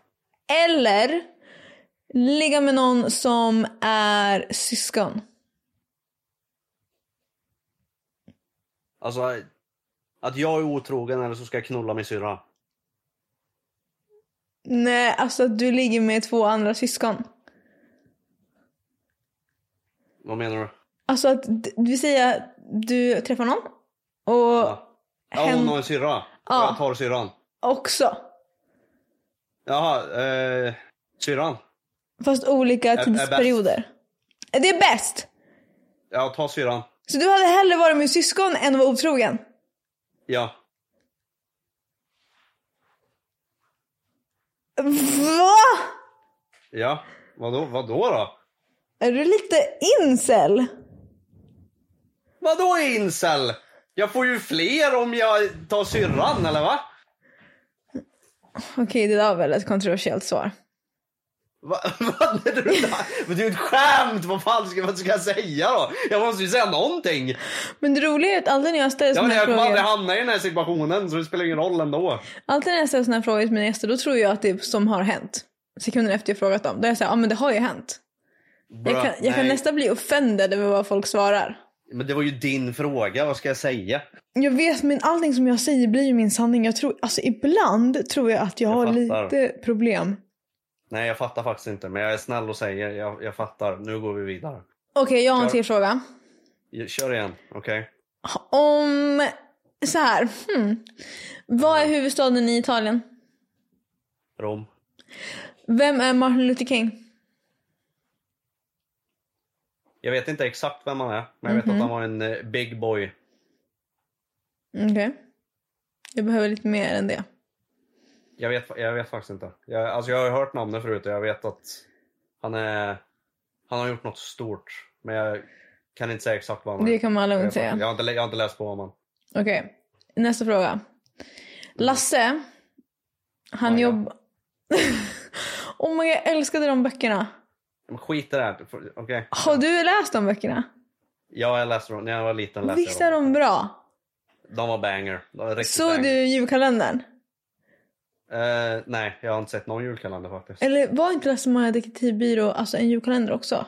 Speaker 1: Eller ligga med någon som är syskon.
Speaker 2: Alltså, att jag är otrogen eller så ska jag knulla min syrra.
Speaker 1: Nej, alltså att du ligger med två andra syskon.
Speaker 2: Vad menar du?
Speaker 1: Alltså att d- vi säger att du träffar någon och
Speaker 2: Ja. Ja,
Speaker 1: hen-
Speaker 2: hon har en syrra. Och
Speaker 1: Ja.
Speaker 2: Jag tar syrran.
Speaker 1: också.
Speaker 2: Jaha, eh, syrran.
Speaker 1: Fast olika
Speaker 2: är
Speaker 1: tidsperioder. Det är bäst!
Speaker 2: Ja, ta syrran.
Speaker 1: Så du hade hellre varit med syskon än att vara otrogen?
Speaker 2: Ja.
Speaker 1: Va?
Speaker 2: Ja. Vadå, vadå då?
Speaker 1: Är du lite incel?
Speaker 2: Vadå incel? Jag får ju fler om jag tar syrran, eller va?
Speaker 1: Okej, det där var väl ett kontroversiellt svar.
Speaker 2: Va, vad är det där? Men det är ju ett skämt! Vad fan ska, vad ska jag säga då? Jag måste ju säga någonting.
Speaker 1: Men det roliga är att alltid när jag ställer
Speaker 2: Ja, men
Speaker 1: såna här
Speaker 2: jag kommer
Speaker 1: frågor...
Speaker 2: aldrig hamna i den här situationen så det spelar ingen roll ändå.
Speaker 1: Alltid när jag ställer såna här frågor till mina gäster då tror jag att det är som har hänt. Sekunden efter jag frågat dem. Då är jag såhär, ja men det har ju hänt. Jag kan, jag kan
Speaker 2: Nej.
Speaker 1: nästan bli offended över vad folk svarar.
Speaker 2: Men det var ju din fråga, vad ska jag säga?
Speaker 1: Jag vet men allting som jag säger blir ju min sanning. Jag tror, alltså ibland tror jag att jag,
Speaker 2: Jag
Speaker 1: har
Speaker 2: fattar.
Speaker 1: lite problem.
Speaker 2: Nej, jag fattar faktiskt inte, men jag är snäll och säger jag, jag fattar. Nu går vi vidare.
Speaker 1: Okej jag har en
Speaker 2: Klar.
Speaker 1: till fråga.
Speaker 2: Jag- Kör igen, okej?
Speaker 1: Om, så här. Hmm. Vad är
Speaker 2: Mm.
Speaker 1: huvudstaden i Italien?
Speaker 2: Rom.
Speaker 1: Vem är Martin Luther King?
Speaker 2: Jag vet inte exakt vem han är, men jag vet
Speaker 1: Mhm.
Speaker 2: att han var en eh, big boy.
Speaker 1: Mm, Okej. Jag behöver lite mer än det.
Speaker 2: Jag vet, jag vet faktiskt inte. Jag, alltså jag har ju hört namnet förut och jag vet att han, är, han har gjort något stort. Men jag kan inte säga exakt vad han är.
Speaker 1: Det kan man
Speaker 2: Jag
Speaker 1: lugnt
Speaker 2: vet
Speaker 1: säga.
Speaker 2: faktiskt- Jag har inte, lä- jag har inte läst på om honom.
Speaker 1: Okej, nästa fråga. Lasse, han
Speaker 2: Ja, ja.
Speaker 1: jobbar... oh my god, jag älskade de böckerna.
Speaker 2: Men skit i det här. Okej.
Speaker 1: Har du läst de böckerna?
Speaker 2: Ja, jag läste dem. När jag var liten läste
Speaker 1: Visst är
Speaker 2: jag dem.
Speaker 1: de bra?
Speaker 2: De var banger. De var riktigt
Speaker 1: Såg
Speaker 2: banger.
Speaker 1: du julkalendern?
Speaker 2: Eh, nej, jag har inte sett någon julkalender faktiskt.
Speaker 1: Eller var inte Lasse Maja Detektivbyrå alltså en julkalender också?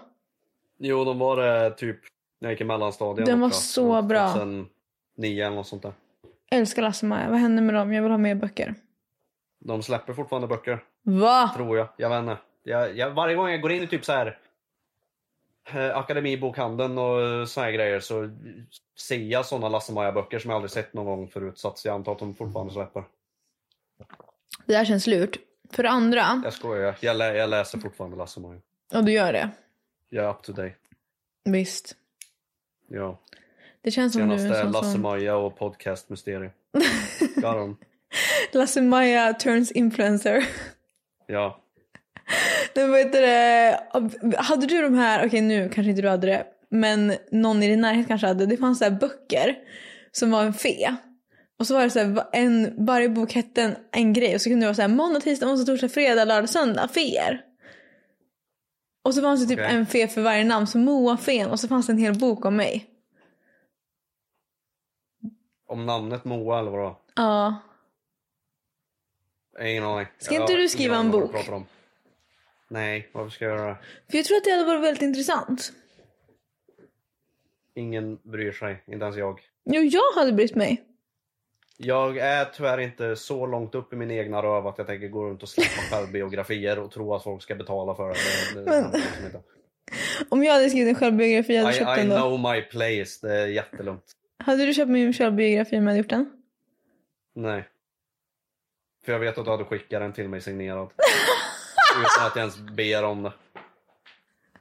Speaker 2: Jo, de var det typ när jag gick i mellanstadiet.
Speaker 1: Den var
Speaker 2: tror jag.
Speaker 1: så bra.
Speaker 2: 2009 eller något sånt där.
Speaker 1: Älskar Lasse Maja. Vad hände med dem? Jag vill ha mer böcker.
Speaker 2: De släpper fortfarande böcker.
Speaker 1: Va?
Speaker 2: Tror jag. Jag vet inte. Jag, jag, varje gång jag går in i typ så här eh, Akademibokhandeln och eh, såna här grejer så ser jag såna Lasse Maja böcker som jag aldrig sett någon gång förut så att jag antar att de fortfarande släpper.
Speaker 1: Det där känns lurt. För det andra,
Speaker 2: Jag skojar. Jag, lä, jag läser fortfarande Lasse Maja.
Speaker 1: och du gör det.
Speaker 2: Jag är up to date.
Speaker 1: Visst.
Speaker 2: Ja.
Speaker 1: Det känns som du är
Speaker 2: Senaste
Speaker 1: en sån
Speaker 2: Lasse
Speaker 1: som...
Speaker 2: Maja och podcast Mysterie. Jag har dem.
Speaker 1: Lasse-Maja turns influencer.
Speaker 2: Ja.
Speaker 1: Nej, vad heter det? Hade du de här, okej nu kanske inte du hade det, men någon i din närhet kanske hade. Det fanns så här böcker som var en fe. Och så var det så här, va- en, varje bok hette en, en grej. Och så kunde det vara så här måndag, tisdag, onsdag, torsdag, fredag, lördag, söndag. Feer. Och så fanns det typ
Speaker 2: Okej.
Speaker 1: en fe för varje namn. Så Moa-fen. Och så fanns det en hel bok om mig.
Speaker 2: Om namnet Moa eller vadå?
Speaker 1: Ja.
Speaker 2: Jag har Ingen aning.
Speaker 1: Ska
Speaker 2: Jag
Speaker 1: inte
Speaker 2: har
Speaker 1: du skriva
Speaker 2: ingen
Speaker 1: en
Speaker 2: aning vad du
Speaker 1: bok?
Speaker 2: pratar om. Nej, varför ska jag göra det?
Speaker 1: För jag tror att det hade varit väldigt intressant.
Speaker 2: Ingen bryr sig, inte ens jag.
Speaker 1: Jo, jag hade brytt mig.
Speaker 2: Jag är tyvärr inte så långt upp i min egna röv att jag tänker gå runt och släppa självbiografier och tro att folk ska betala för det. det, det
Speaker 1: Men-
Speaker 2: händer liksom inte.
Speaker 1: Om jag hade skrivit en självbiografi hade jag köpt
Speaker 2: I, I
Speaker 1: den då.
Speaker 2: know my place, det är jättelugnt.
Speaker 1: Hade du köpt min självbiografi om jag hade gjort den?
Speaker 2: Nej. För jag vet att du hade skickat den till mig signerad. Utan att jag ens ber om det.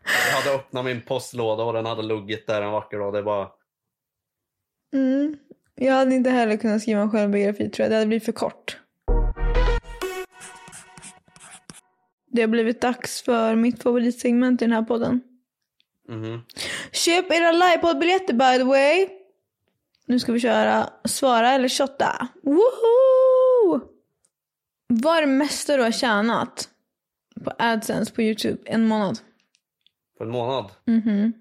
Speaker 2: Jag hade öppnat min postlåda och den hade luggit där en vacker dag. Det är bara...
Speaker 1: Mm. Jag hade inte heller kunnat skriva en självbiografi tror jag. Det hade blivit för kort. Det har blivit dags för mitt favoritsegment i den här podden.
Speaker 2: mhm.
Speaker 1: Köp era livepoddbiljetter by the way. Nu ska vi köra svara eller shotta. Woho! Vad är det mesta du har tjänat på AdSense på YouTube en månad?
Speaker 2: På en månad.
Speaker 1: Mhm.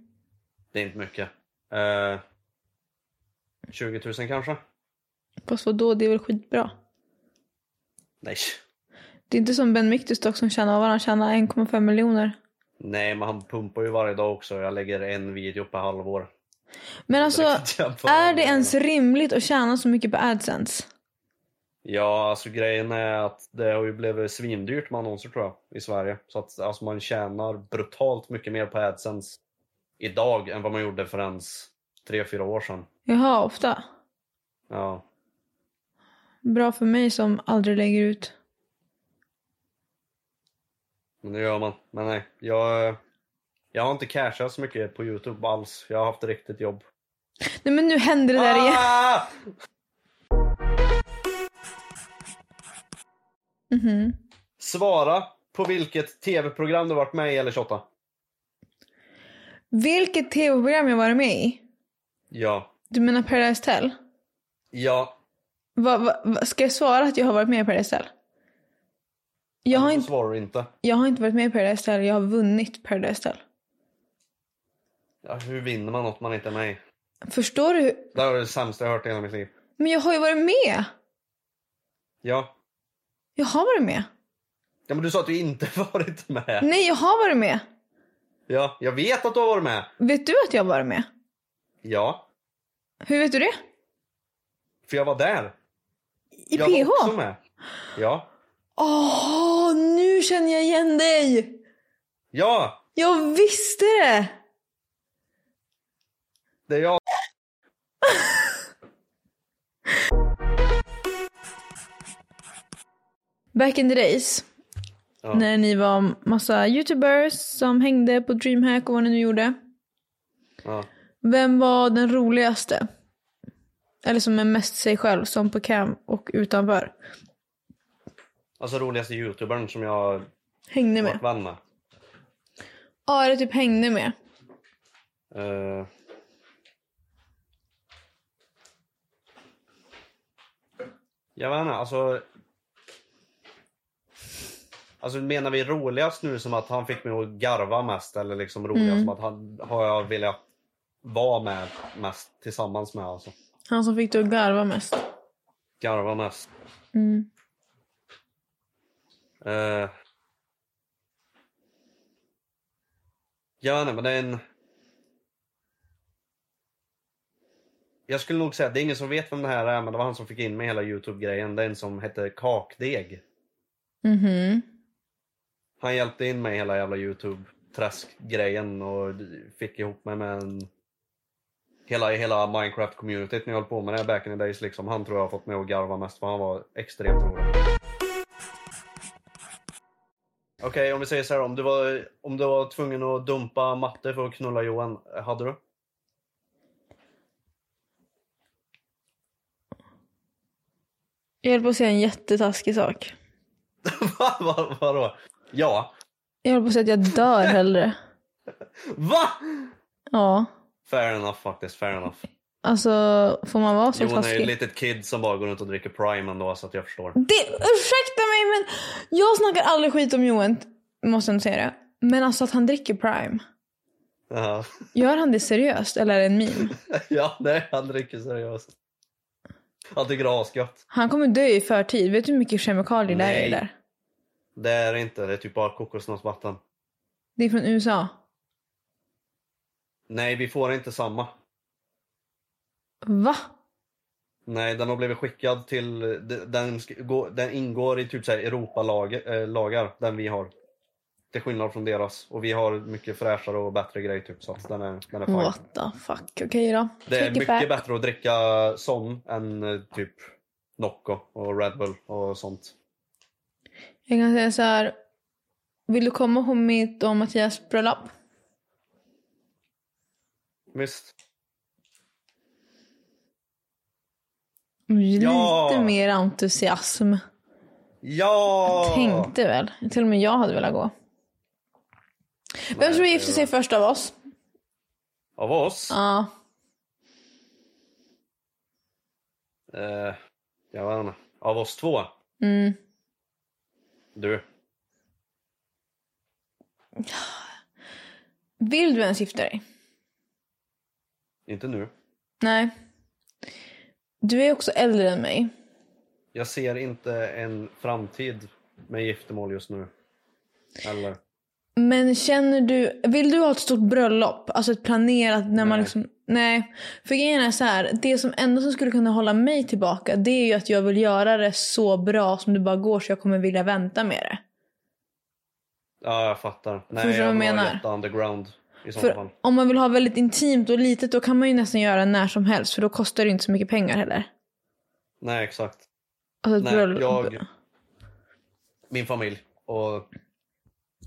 Speaker 2: Det är inte mycket. Eh, 20 000 kanske?
Speaker 1: Fast vadå, det är väl skitbra.
Speaker 2: Nej.
Speaker 1: Det är inte som Ben Mictus som tjänar, vad han tjänar 1,5 miljoner.
Speaker 2: Nej, men han pumpar ju varje dag också. Jag lägger en video per halvår.
Speaker 1: Men alltså,
Speaker 2: Det kan inte jag bara-
Speaker 1: är det ens rimligt att tjäna så mycket på AdSense?
Speaker 2: Ja, alltså grejen är att det har ju blivit svindyrt med annonser tror jag i Sverige. Så att alltså, man tjänar brutalt mycket mer på AdSense idag än vad man gjorde för ens 3-4 år sedan.
Speaker 1: Jaha, ofta.
Speaker 2: Ja.
Speaker 1: Bra för mig som aldrig lägger ut.
Speaker 2: Men det gör man. Men nej, jag, eh, jag har inte cashat så mycket på Youtube alls. Jag har haft riktigt jobb.
Speaker 1: Nej men nu händer det där igen.
Speaker 2: Ah!
Speaker 1: Mhm.
Speaker 2: Svara på vilket tv-program du varit med i eller 28.
Speaker 1: Vilket tv-program jag varit med i?
Speaker 2: Ja.
Speaker 1: Du menar Paradise Tell?
Speaker 2: Ja.
Speaker 1: Va, va, va, ska jag svara att jag har varit med i Paradise Tell? Jag har,
Speaker 2: Då
Speaker 1: inte,
Speaker 2: svarar du inte.
Speaker 1: jag har inte varit med i Paradise Tell, jag har vunnit Paradise Tell.
Speaker 2: Ja, hur vinner man något man inte är med i?
Speaker 1: Förstår du? hur-
Speaker 2: Det här är det sämsta jag hört i hela mitt liv.
Speaker 1: Men jag har ju varit med!
Speaker 2: Ja.
Speaker 1: Jag har varit med.
Speaker 2: Ja men du sa att du inte varit med.
Speaker 1: Nej, jag har varit med.
Speaker 2: Ja, jag vet att du har varit med.
Speaker 1: Vet du att jag har varit med?
Speaker 2: Ja,
Speaker 1: Hur vet du det?
Speaker 2: för jag var där.
Speaker 1: I
Speaker 2: jag
Speaker 1: PH?
Speaker 2: var också med. Ja.
Speaker 1: Åh, nu känner jag igen dig!
Speaker 2: Ja,
Speaker 1: Jag visste det!
Speaker 2: det är jag.
Speaker 1: Back in the days,
Speaker 2: Ja.
Speaker 1: när ni var massa youtubers som hängde på DreamHack och vad ni nu gjorde.
Speaker 2: Ja.
Speaker 1: Vem var den roligaste? Eller som är mest sig själv, som på cam och utanför.
Speaker 2: Alltså roligaste youtubern som jag har
Speaker 1: Hängde med.
Speaker 2: varit vän med.
Speaker 1: Ja, det typ hängde med.
Speaker 2: Eh. Jag vet inte, alltså... Alltså menar vi roligast nu som att han fick mig att garva mest eller liksom roligast som att han har jag velat vara med mest tillsammans med alltså.
Speaker 1: Han som fick dig att garva mest.
Speaker 2: Garva mest.
Speaker 1: Mm.
Speaker 2: Eh. Jag vet inte, men det är en... Jag skulle nog säga, det är ingen som vet vem det här är, men det var han som fick in med hela Youtube-grejen. Det är en som hette Kakdeg.
Speaker 1: Mhm.
Speaker 2: Han hjälpte in mig i hela jävla Youtube-träsk-grejen och fick ihop mig med en... Hela, hela Minecraft-communityt när jag höll på med det här back in the days. Liksom. Han tror jag har fått mig att garva mest för han var extremt rolig. Okej, om vi säger så här. Om du, var, om du var tvungen att dumpa matte för att knulla Johan, hade du?
Speaker 1: Jag höll på att säga en jättetaskig sak.
Speaker 2: Va? Va? Vadå? Ja.
Speaker 1: Jag höll på att säga att jag dör hellre.
Speaker 2: Va?
Speaker 1: Ja.
Speaker 2: Fair enough faktiskt, fair enough.
Speaker 1: Alltså, får man vara så
Speaker 2: Jon är ju
Speaker 1: taskig?
Speaker 2: ett litet kid som bara går runt och dricker Prime ändå så att jag förstår.
Speaker 1: Det, ursäkta mig men jag snackar aldrig skit om Johan. Måste jag ändå säga det. Men alltså att han dricker Prime.
Speaker 2: Ja.
Speaker 1: Gör han det seriöst eller är det en meme?
Speaker 2: ja, nej han dricker seriöst. Han tycker det är asgött.
Speaker 1: Han kommer dö i förtid. Vet du hur mycket kemikalier det är i
Speaker 2: Nej.
Speaker 1: det där?
Speaker 2: Det är det inte, det är typ bara kokosnötsvatten.
Speaker 1: Det är från USA.
Speaker 2: Nej, vi får inte samma.
Speaker 1: Va?
Speaker 2: Nej, den har blivit skickad till... de- Den, sk- gå- den ingår i typ så här Europalagar, eh, lagar, den vi har. Till skillnad från deras. Och vi har mycket fräschare och bättre grej typ. Så att den är, den är fine.
Speaker 1: What the fuck. Okej då.
Speaker 2: Det är
Speaker 1: Take it
Speaker 2: mycket
Speaker 1: back.
Speaker 2: bättre att dricka sån än eh, typ Nocco och Red Bull och sånt.
Speaker 1: Jag kan säga så här. Vill du komma på mitt och Mattias bröllop?
Speaker 2: Visst. Ja.
Speaker 1: Lite mer entusiasm.
Speaker 2: Ja!
Speaker 1: Tänkte väl. Till och med jag hade velat gå. Vem tror du gifter sig först av oss?
Speaker 2: Av oss?
Speaker 1: Ja.
Speaker 2: Eh, jag vet inte. Av oss två?
Speaker 1: Mm.
Speaker 2: Du.
Speaker 1: Vill du ens gifta dig?
Speaker 2: Inte nu.
Speaker 1: Nej. Du är också äldre än mig.
Speaker 2: Jag ser inte en framtid med giftermål just nu. Eller?
Speaker 1: Men känner du, vill du ha ett stort bröllop? Alltså ett planerat när man
Speaker 2: Nej.
Speaker 1: liksom, nej. För grejen är så här, det som enda som skulle kunna hålla mig tillbaka det är ju att jag vill göra det så bra som det bara går så jag kommer vilja vänta med det.
Speaker 2: Ja, jag fattar.
Speaker 1: Förstår
Speaker 2: Nej,
Speaker 1: du vad jag
Speaker 2: jag vill ha
Speaker 1: menar?
Speaker 2: jätte underground i så fall.
Speaker 1: För om man vill ha väldigt intimt och litet då kan man ju nästan göra när som helst för då kostar det inte så mycket pengar heller.
Speaker 2: Nej, exakt.
Speaker 1: Alltså ett
Speaker 2: Nej,
Speaker 1: bröllop.
Speaker 2: jag- Min familj och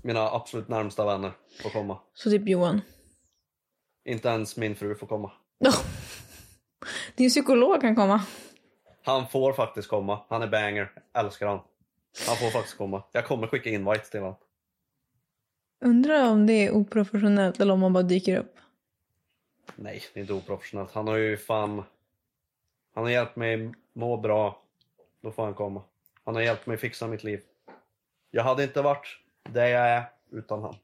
Speaker 2: mina absolut närmsta vänner får komma.
Speaker 1: Så typ Johan.
Speaker 2: Inte ens min fru får komma.
Speaker 1: Åh. Din psykolog kan komma.
Speaker 2: Han får faktiskt komma. Han är banger. Älskar han. Han får faktiskt komma. Jag kommer skicka invite till honom.
Speaker 1: Undrar om det är oprofessionellt eller om man bara dyker upp.
Speaker 2: Nej, det är inte oprofessionellt. Han har ju fan... Han har hjälpt mig må bra. Då får han komma. Han har hjälpt mig fixa mitt liv. Jag hade inte varit där jag är utan han.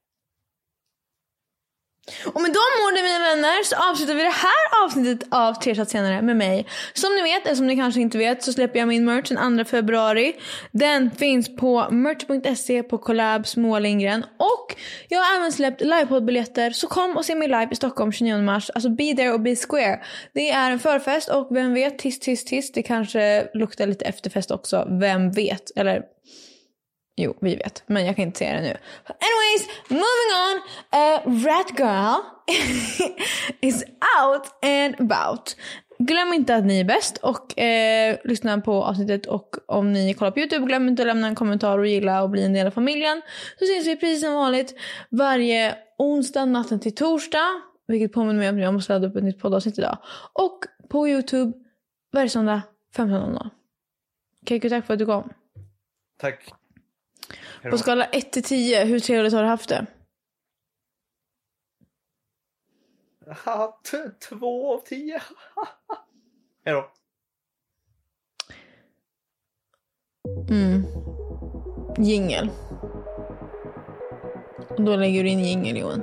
Speaker 1: Och med de orden mina vänner så avslutar vi det här avsnittet av Tre Shot senare med mig. Som ni vet, eller som ni kanske inte vet, så släpper jag min merch den 2 februari. Den finns på merch.se på Collabs Moa Lindgren. Och jag har även släppt livepoddbiljetter så kom och se mig live i Stockholm 29 mars. Alltså be there och be square. Det är en förfest och vem vet, tyst tyst tyst, det kanske luktar lite efterfest också. Vem vet? Eller Jo, vi vet. Men jag kan inte säga det nu. Anyways, moving on. Uh, Rat Girl is out and about. Glöm inte att ni är bäst och eh, lyssna på avsnittet och om ni kollar på Youtube glöm inte att lämna en kommentar och gilla och bli en del av familjen. Så ses vi precis som vanligt varje onsdag natten till torsdag. Vilket påminner mig om att jag måste ladda upp ett nytt poddavsnitt idag. Och på Youtube varje söndag 15.00. Keiko tack för att du kom.
Speaker 2: Tack.
Speaker 1: På skala 1 till 10, hur trevligt har du haft det?
Speaker 2: Ha, t- två av tio. Hej då.
Speaker 1: Mm. Jingel. Och då lägger du in jingel Johan.